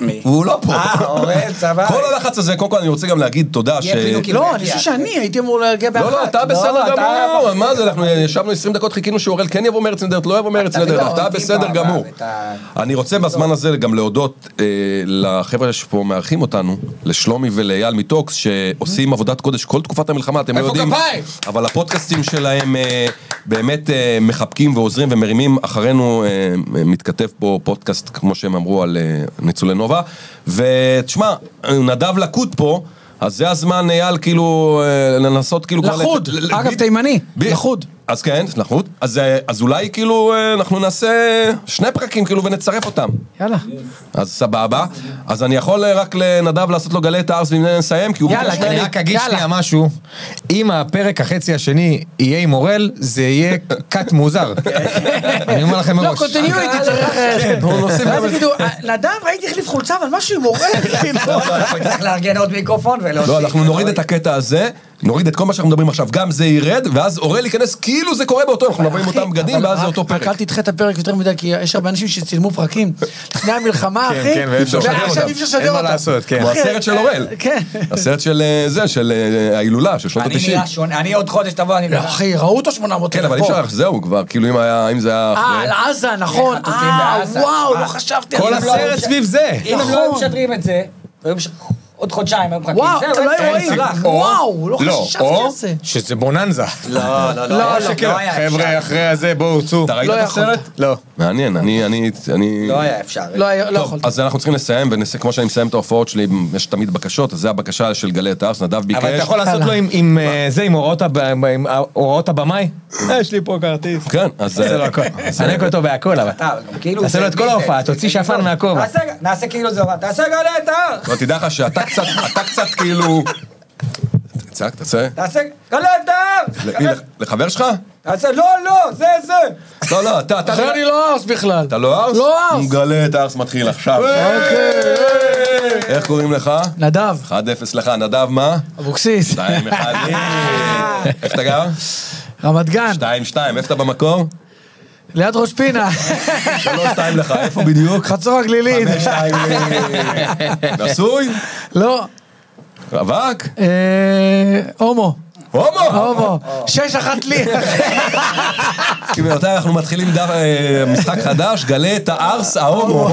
[SPEAKER 5] מי?
[SPEAKER 2] הוא לא פה.
[SPEAKER 5] אה, אורן, סבבה.
[SPEAKER 2] כל הלחץ הזה, קודם כל אני רוצה גם להגיד תודה ש...
[SPEAKER 5] יהיה פינוקים.
[SPEAKER 3] לא, אני חושב שאני הייתי אמור להגיע באחת.
[SPEAKER 2] לא, לא, אתה בסדר
[SPEAKER 5] אתה- לא.
[SPEAKER 2] גמור, מה זה, אנחנו ישבנו 20 דקות, חיכינו שאוראל כן יבוא מרצנדרט, לא יבוא
[SPEAKER 5] אתה
[SPEAKER 2] מרצנדרט, אתה
[SPEAKER 5] מבין,
[SPEAKER 2] בסדר
[SPEAKER 5] אבל
[SPEAKER 2] גמור.
[SPEAKER 5] את ה-
[SPEAKER 2] אני רוצה בזמן הזה גם להודות אה, לחבר'ה שפה מארחים אותנו, לשלומי ולאייל מטוקס, שעושים עבודת קודש כל תקופת המלחמה, אתם לא
[SPEAKER 4] איפה
[SPEAKER 2] יודעים.
[SPEAKER 4] כפיים?
[SPEAKER 2] אבל הפודקאסטים שלהם אה, באמת אה, מחבקים ועוזרים ומרימים. אחרינו אה, מתכתב פה פודקאסט, כמו שהם אמרו, על אה, ניצולי נובה. ותשמע, אה, נדב לקוט פה. אז זה הזמן, אייל, כאילו, אה, לנסות כאילו... כבר
[SPEAKER 3] לחוד.
[SPEAKER 2] לת- ל-
[SPEAKER 3] אגב,
[SPEAKER 2] ב-
[SPEAKER 3] תימני.
[SPEAKER 2] ב-
[SPEAKER 3] לחוד.
[SPEAKER 2] אז כן, לחוד. אז, אה, אז אולי כאילו אה, אנחנו נעשה שני פרקים כאילו ונצרף אותם.
[SPEAKER 3] יאללה.
[SPEAKER 2] אז סבבה. אז אני יכול אה, רק לנדב לעשות לו גלי את הארס ואם נסיים, כי הוא
[SPEAKER 3] יאללה,
[SPEAKER 2] ביקש
[SPEAKER 4] אני
[SPEAKER 2] ממני.
[SPEAKER 4] רק אגיד
[SPEAKER 3] יאללה.
[SPEAKER 4] שנייה משהו, אם הפרק החצי השני יהיה עם אורל, זה יהיה קאט
[SPEAKER 3] [laughs]
[SPEAKER 4] מוזר. אני אומר לכם
[SPEAKER 3] לא,
[SPEAKER 4] מראש.
[SPEAKER 3] קונטיניויטי צריך...
[SPEAKER 2] כן, בואו נוסיף
[SPEAKER 3] ואז
[SPEAKER 2] גם את זה.
[SPEAKER 3] יגידו, נדב, ראיתי החליף חולצה, אבל משהו עם כאילו. מורה.
[SPEAKER 5] אנחנו נצטרך לארגן עוד מיקרופון ולהוסיף.
[SPEAKER 2] לא, אנחנו נוריד את הקטע הזה, נוריד את כל מה שאנחנו מדברים עכשיו, גם זה ירד, ואז אורל ייכנס כאילו זה קורה באותו, אנחנו נבוא עם אותם בגדים, ואז זה אותו
[SPEAKER 3] רק אל
[SPEAKER 2] פרק.
[SPEAKER 3] תדחה את הפרק יותר מדי, כי יש הרבה אנשים שצילמו פרקים לפני המלחמה,
[SPEAKER 4] כן,
[SPEAKER 3] אחי.
[SPEAKER 4] כן, ואי אפשר
[SPEAKER 2] לשדר
[SPEAKER 3] ועכשיו
[SPEAKER 2] אותם.
[SPEAKER 3] אי אפשר לשדר
[SPEAKER 4] אין מה
[SPEAKER 3] אותם.
[SPEAKER 4] לעשות, כן.
[SPEAKER 2] כמו
[SPEAKER 3] אחי,
[SPEAKER 2] הסרט של אוראל.
[SPEAKER 3] כן.
[SPEAKER 2] הסרט של אה, זה, של אה, ההילולה, של שנות
[SPEAKER 5] אני
[SPEAKER 2] ה-90.
[SPEAKER 5] נראה שונה, אני עוד חודש תבוא, אני
[SPEAKER 3] לא,
[SPEAKER 5] נראה.
[SPEAKER 3] אחי, ראו אותו 800
[SPEAKER 2] כן, אבל אי
[SPEAKER 3] פה.
[SPEAKER 2] אפשר, זהו כבר, כאילו אם היה, אם זה היה
[SPEAKER 3] אה, על
[SPEAKER 2] אחרי.
[SPEAKER 3] עזה, נכון.
[SPEAKER 5] חטופים
[SPEAKER 3] אה,
[SPEAKER 5] בעזה.
[SPEAKER 3] וואו,
[SPEAKER 5] אה.
[SPEAKER 3] לא חשבתי
[SPEAKER 4] כל
[SPEAKER 3] על זה.
[SPEAKER 4] הסרט סביב זה.
[SPEAKER 5] אם הם
[SPEAKER 3] נכון.
[SPEAKER 5] לא היו משדרים את זה, היו מש- עוד חודשיים היו מחכים.
[SPEAKER 3] וואו,
[SPEAKER 5] זהו,
[SPEAKER 3] אתם לא
[SPEAKER 5] אין
[SPEAKER 3] רואים.
[SPEAKER 5] סלח.
[SPEAKER 3] או- וואו, לא
[SPEAKER 4] לא,
[SPEAKER 3] חשבתי
[SPEAKER 4] או
[SPEAKER 3] על זה.
[SPEAKER 4] שזה בוננזה.
[SPEAKER 5] לא, לא,
[SPEAKER 3] לא,
[SPEAKER 5] היה
[SPEAKER 3] לא,
[SPEAKER 5] אפשר,
[SPEAKER 4] שקר.
[SPEAKER 5] היה
[SPEAKER 4] חבר'ה,
[SPEAKER 5] אפשר.
[SPEAKER 4] אחרי הזה בואו, צאו.
[SPEAKER 2] אתה ראית
[SPEAKER 3] לא
[SPEAKER 2] את
[SPEAKER 3] יכול.
[SPEAKER 2] הסרט?
[SPEAKER 4] לא.
[SPEAKER 2] מעניין, אני, אני, אני...
[SPEAKER 5] לא היה אפשר.
[SPEAKER 3] לא היה- לא
[SPEAKER 2] טוב,
[SPEAKER 3] יכולתי.
[SPEAKER 2] אז אנחנו צריכים לסיים, וכמו שאני מסיים את ההופעות שלי, יש תמיד בקשות, אז זה הבקשה של גלי את הארס, נדב ביקש.
[SPEAKER 4] אבל אתה יכול לעשות
[SPEAKER 3] יאללה.
[SPEAKER 4] לו עם- עם אה, זה, עם הוראות הב- עם הוראות הבמאי? אה, יש לי פה כרטיס.
[SPEAKER 2] כן, אז...
[SPEAKER 4] זה לא הכל. אה, תחנק אותו בהכל אבל.
[SPEAKER 5] אתה, אבל גם כאילו...
[SPEAKER 4] תעשה
[SPEAKER 5] זה-
[SPEAKER 4] לו את כל ההופעה, תוציא שפן מהכובע.
[SPEAKER 5] נעשה- נעשה כאילו זה הוראה, תעשה גלה את ההר!
[SPEAKER 2] לא, תדע לך שאתה קצת, אתה קצת כאילו... צעק, תעשה.
[SPEAKER 4] [laughs]
[SPEAKER 5] תעשה גלה את ההר!
[SPEAKER 2] למי? לח- לחבר שלך?
[SPEAKER 5] תעשה לא, לא, זה, זה!
[SPEAKER 2] לא, לא, אתה, אתה...
[SPEAKER 3] אחי, אני לא ארס בכלל.
[SPEAKER 2] אתה לא ארס?
[SPEAKER 3] לא ארס.
[SPEAKER 2] גלה את הארס מתחיל עכשיו.
[SPEAKER 4] אה,
[SPEAKER 2] אוקיי. איך קוראים לך?
[SPEAKER 3] נדב,
[SPEAKER 2] 1-0 לך, נדב מה?
[SPEAKER 3] אבוקסיס,
[SPEAKER 2] 2-1.
[SPEAKER 3] [laughs]
[SPEAKER 2] איפה אתה גר?
[SPEAKER 3] רמת גן,
[SPEAKER 2] 2-2, איפה אתה במקור?
[SPEAKER 3] ליד ראש
[SPEAKER 2] [laughs]
[SPEAKER 3] פינה,
[SPEAKER 2] 3-2 לך, איפה
[SPEAKER 3] [laughs]
[SPEAKER 2] בדיוק?
[SPEAKER 3] חצור הגלילית.
[SPEAKER 2] 5-2. נשוי?
[SPEAKER 3] לא,
[SPEAKER 2] רווק?
[SPEAKER 3] אה, הומו,
[SPEAKER 2] הומו?
[SPEAKER 3] הומו. שש אחת
[SPEAKER 2] [laughs]
[SPEAKER 3] לי. [laughs]
[SPEAKER 2] גבירותיי, אנחנו מתחילים דף, אה, משחק חדש, גלה את הארס ההומו.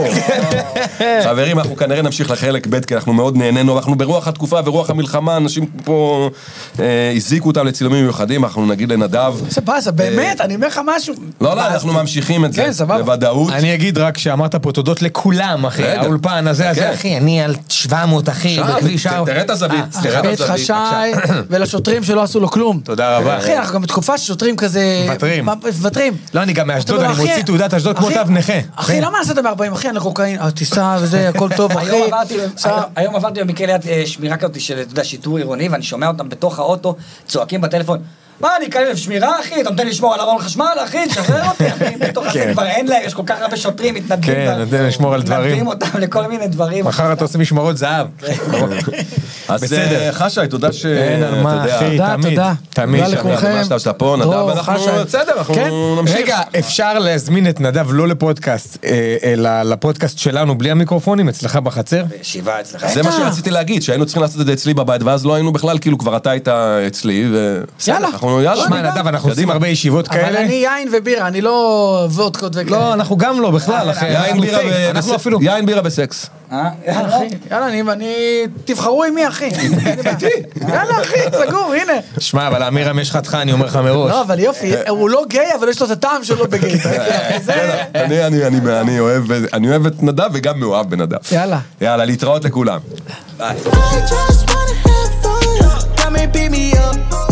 [SPEAKER 2] חברים, אנחנו כנראה נמשיך לחלק ב', כי אנחנו מאוד נהנינו, אנחנו ברוח התקופה ורוח המלחמה, אנשים פה אה, הזעיקו אותם לצילומים מיוחדים, אנחנו נגיד לנדב.
[SPEAKER 3] זה באסה, באמת, אני אומר לך משהו.
[SPEAKER 2] אה, לא, לא, אנחנו ממשיכים את זה.
[SPEAKER 3] כן, סבבה.
[SPEAKER 2] בוודאות.
[SPEAKER 4] אני אגיד רק שאמרת פה תודות לכולם, אחי.
[SPEAKER 2] רגע.
[SPEAKER 4] האולפן הזה,
[SPEAKER 2] כן.
[SPEAKER 4] הזה, אחי, אני על 700, אחי,
[SPEAKER 2] שם,
[SPEAKER 4] בכביש
[SPEAKER 2] ת-
[SPEAKER 4] 4.
[SPEAKER 2] תראה את הזווית, תראה את הזווית.
[SPEAKER 3] בית אה, חשאי, [coughs] ולשוטרים שלא עשו לו כלום.
[SPEAKER 4] תודה רבה.
[SPEAKER 3] אחי, אנחנו גם בתקופה ששוטרים כזה...
[SPEAKER 4] מוותרים.
[SPEAKER 3] מה- מוותרים.
[SPEAKER 4] לא, אני גם מאשדוד,
[SPEAKER 3] אתה אומר,
[SPEAKER 4] אני
[SPEAKER 3] "אחי,
[SPEAKER 4] מוציא תעודת אשדוד כמו
[SPEAKER 3] אחי,
[SPEAKER 4] תו נכה.
[SPEAKER 3] אחי,
[SPEAKER 4] כן.
[SPEAKER 3] למה נסעת מ-40? אחי, אני קוקאין, אה, תיסע
[SPEAKER 4] [laughs]
[SPEAKER 3] וזה, הכל טוב, אחי. אה,
[SPEAKER 5] היום עברתי-
[SPEAKER 3] סע.
[SPEAKER 5] היום- היום עברתי במקרה ליד אה, שמירה כזאת של, אתה יודע, שיטור עירוני, ואני שומע אותם בתוך האוטו צועקים בטלפון. מה, אני כלב שמירה, אחי? אתה נותן לי לשמור על ארון חשמל, אחי? תשחרר
[SPEAKER 4] [laughs]
[SPEAKER 5] אותי, אחי. בתוך הזה
[SPEAKER 4] כן.
[SPEAKER 5] כבר אין להם, יש כל כך הרבה שוטרים, מתנדבים.
[SPEAKER 4] כן,
[SPEAKER 5] כבר.
[SPEAKER 4] נותן לשמור על דברים.
[SPEAKER 5] מתנדבים אותם לכל מיני דברים.
[SPEAKER 4] מחר אתה עושה משמרות זהב.
[SPEAKER 2] אז אה, חשאי, תודה ש...
[SPEAKER 4] אין על מה,
[SPEAKER 2] אתה יודע,
[SPEAKER 3] תודה,
[SPEAKER 4] אחי. תמיד,
[SPEAKER 3] תודה.
[SPEAKER 4] תמיד
[SPEAKER 3] תודה
[SPEAKER 4] שאני
[SPEAKER 2] שמח
[SPEAKER 3] לכולכם.
[SPEAKER 2] ממש שאתה פה, נדב,
[SPEAKER 3] דרור,
[SPEAKER 2] אנחנו-
[SPEAKER 3] חשן.
[SPEAKER 2] בסדר, אנחנו
[SPEAKER 3] כן?
[SPEAKER 2] נמשיך.
[SPEAKER 4] רגע, אפשר להזמין את נדב לא לפודקאסט, אה, אלא לפודקאסט שלנו בלי המיקרופונים, אצלך בחצר?
[SPEAKER 5] ישיבה אצלך.
[SPEAKER 2] זה מה שרציתי להגיד, שהיינו צריכים לעשות את זה אצלי בבית, ואז לא היינו בכלל, כאילו כבר אתה היית אצלי, ו... בסדר,
[SPEAKER 3] יאללה,
[SPEAKER 2] אנחנו אנחנו יאללה.
[SPEAKER 4] שמע, נדב, אנחנו עושים
[SPEAKER 2] קדימה.
[SPEAKER 4] הרבה ישיבות
[SPEAKER 3] אבל
[SPEAKER 4] כאלה.
[SPEAKER 3] אני יין ובירה, אני לא וודקות וכאלה.
[SPEAKER 4] לא, אנחנו גם לא, בכלל, אחי.
[SPEAKER 2] יין
[SPEAKER 4] אנחנו
[SPEAKER 2] בירה
[SPEAKER 4] פייק,
[SPEAKER 2] ו-
[SPEAKER 4] אנחנו
[SPEAKER 2] בסקס.
[SPEAKER 4] אפילו...
[SPEAKER 2] יין בירה וסקס.
[SPEAKER 5] אה?
[SPEAKER 3] יאללה, אחי. יאללה, אני- אני... תבחרו עם מי,
[SPEAKER 4] [laughs]
[SPEAKER 3] אחי. אין לי בעיה. יאללה, אחי, סגור, הנה.
[SPEAKER 4] שמע, אבל אמירם יש חתך, אני אומר לך מראש.
[SPEAKER 3] לא, אבל יופי, הוא לא גיי, אבל יש לו את הטעם שלו
[SPEAKER 4] [laughs]
[SPEAKER 3] בגיי. זה-
[SPEAKER 2] אני- אני- אני- אני אוהב- אני אוהב את נדב וגם מאוהב בנדב.
[SPEAKER 3] יאללה.
[SPEAKER 2] יאללה, להתראות לכולם.
[SPEAKER 1] I just wanna have fun. Come and beat me up.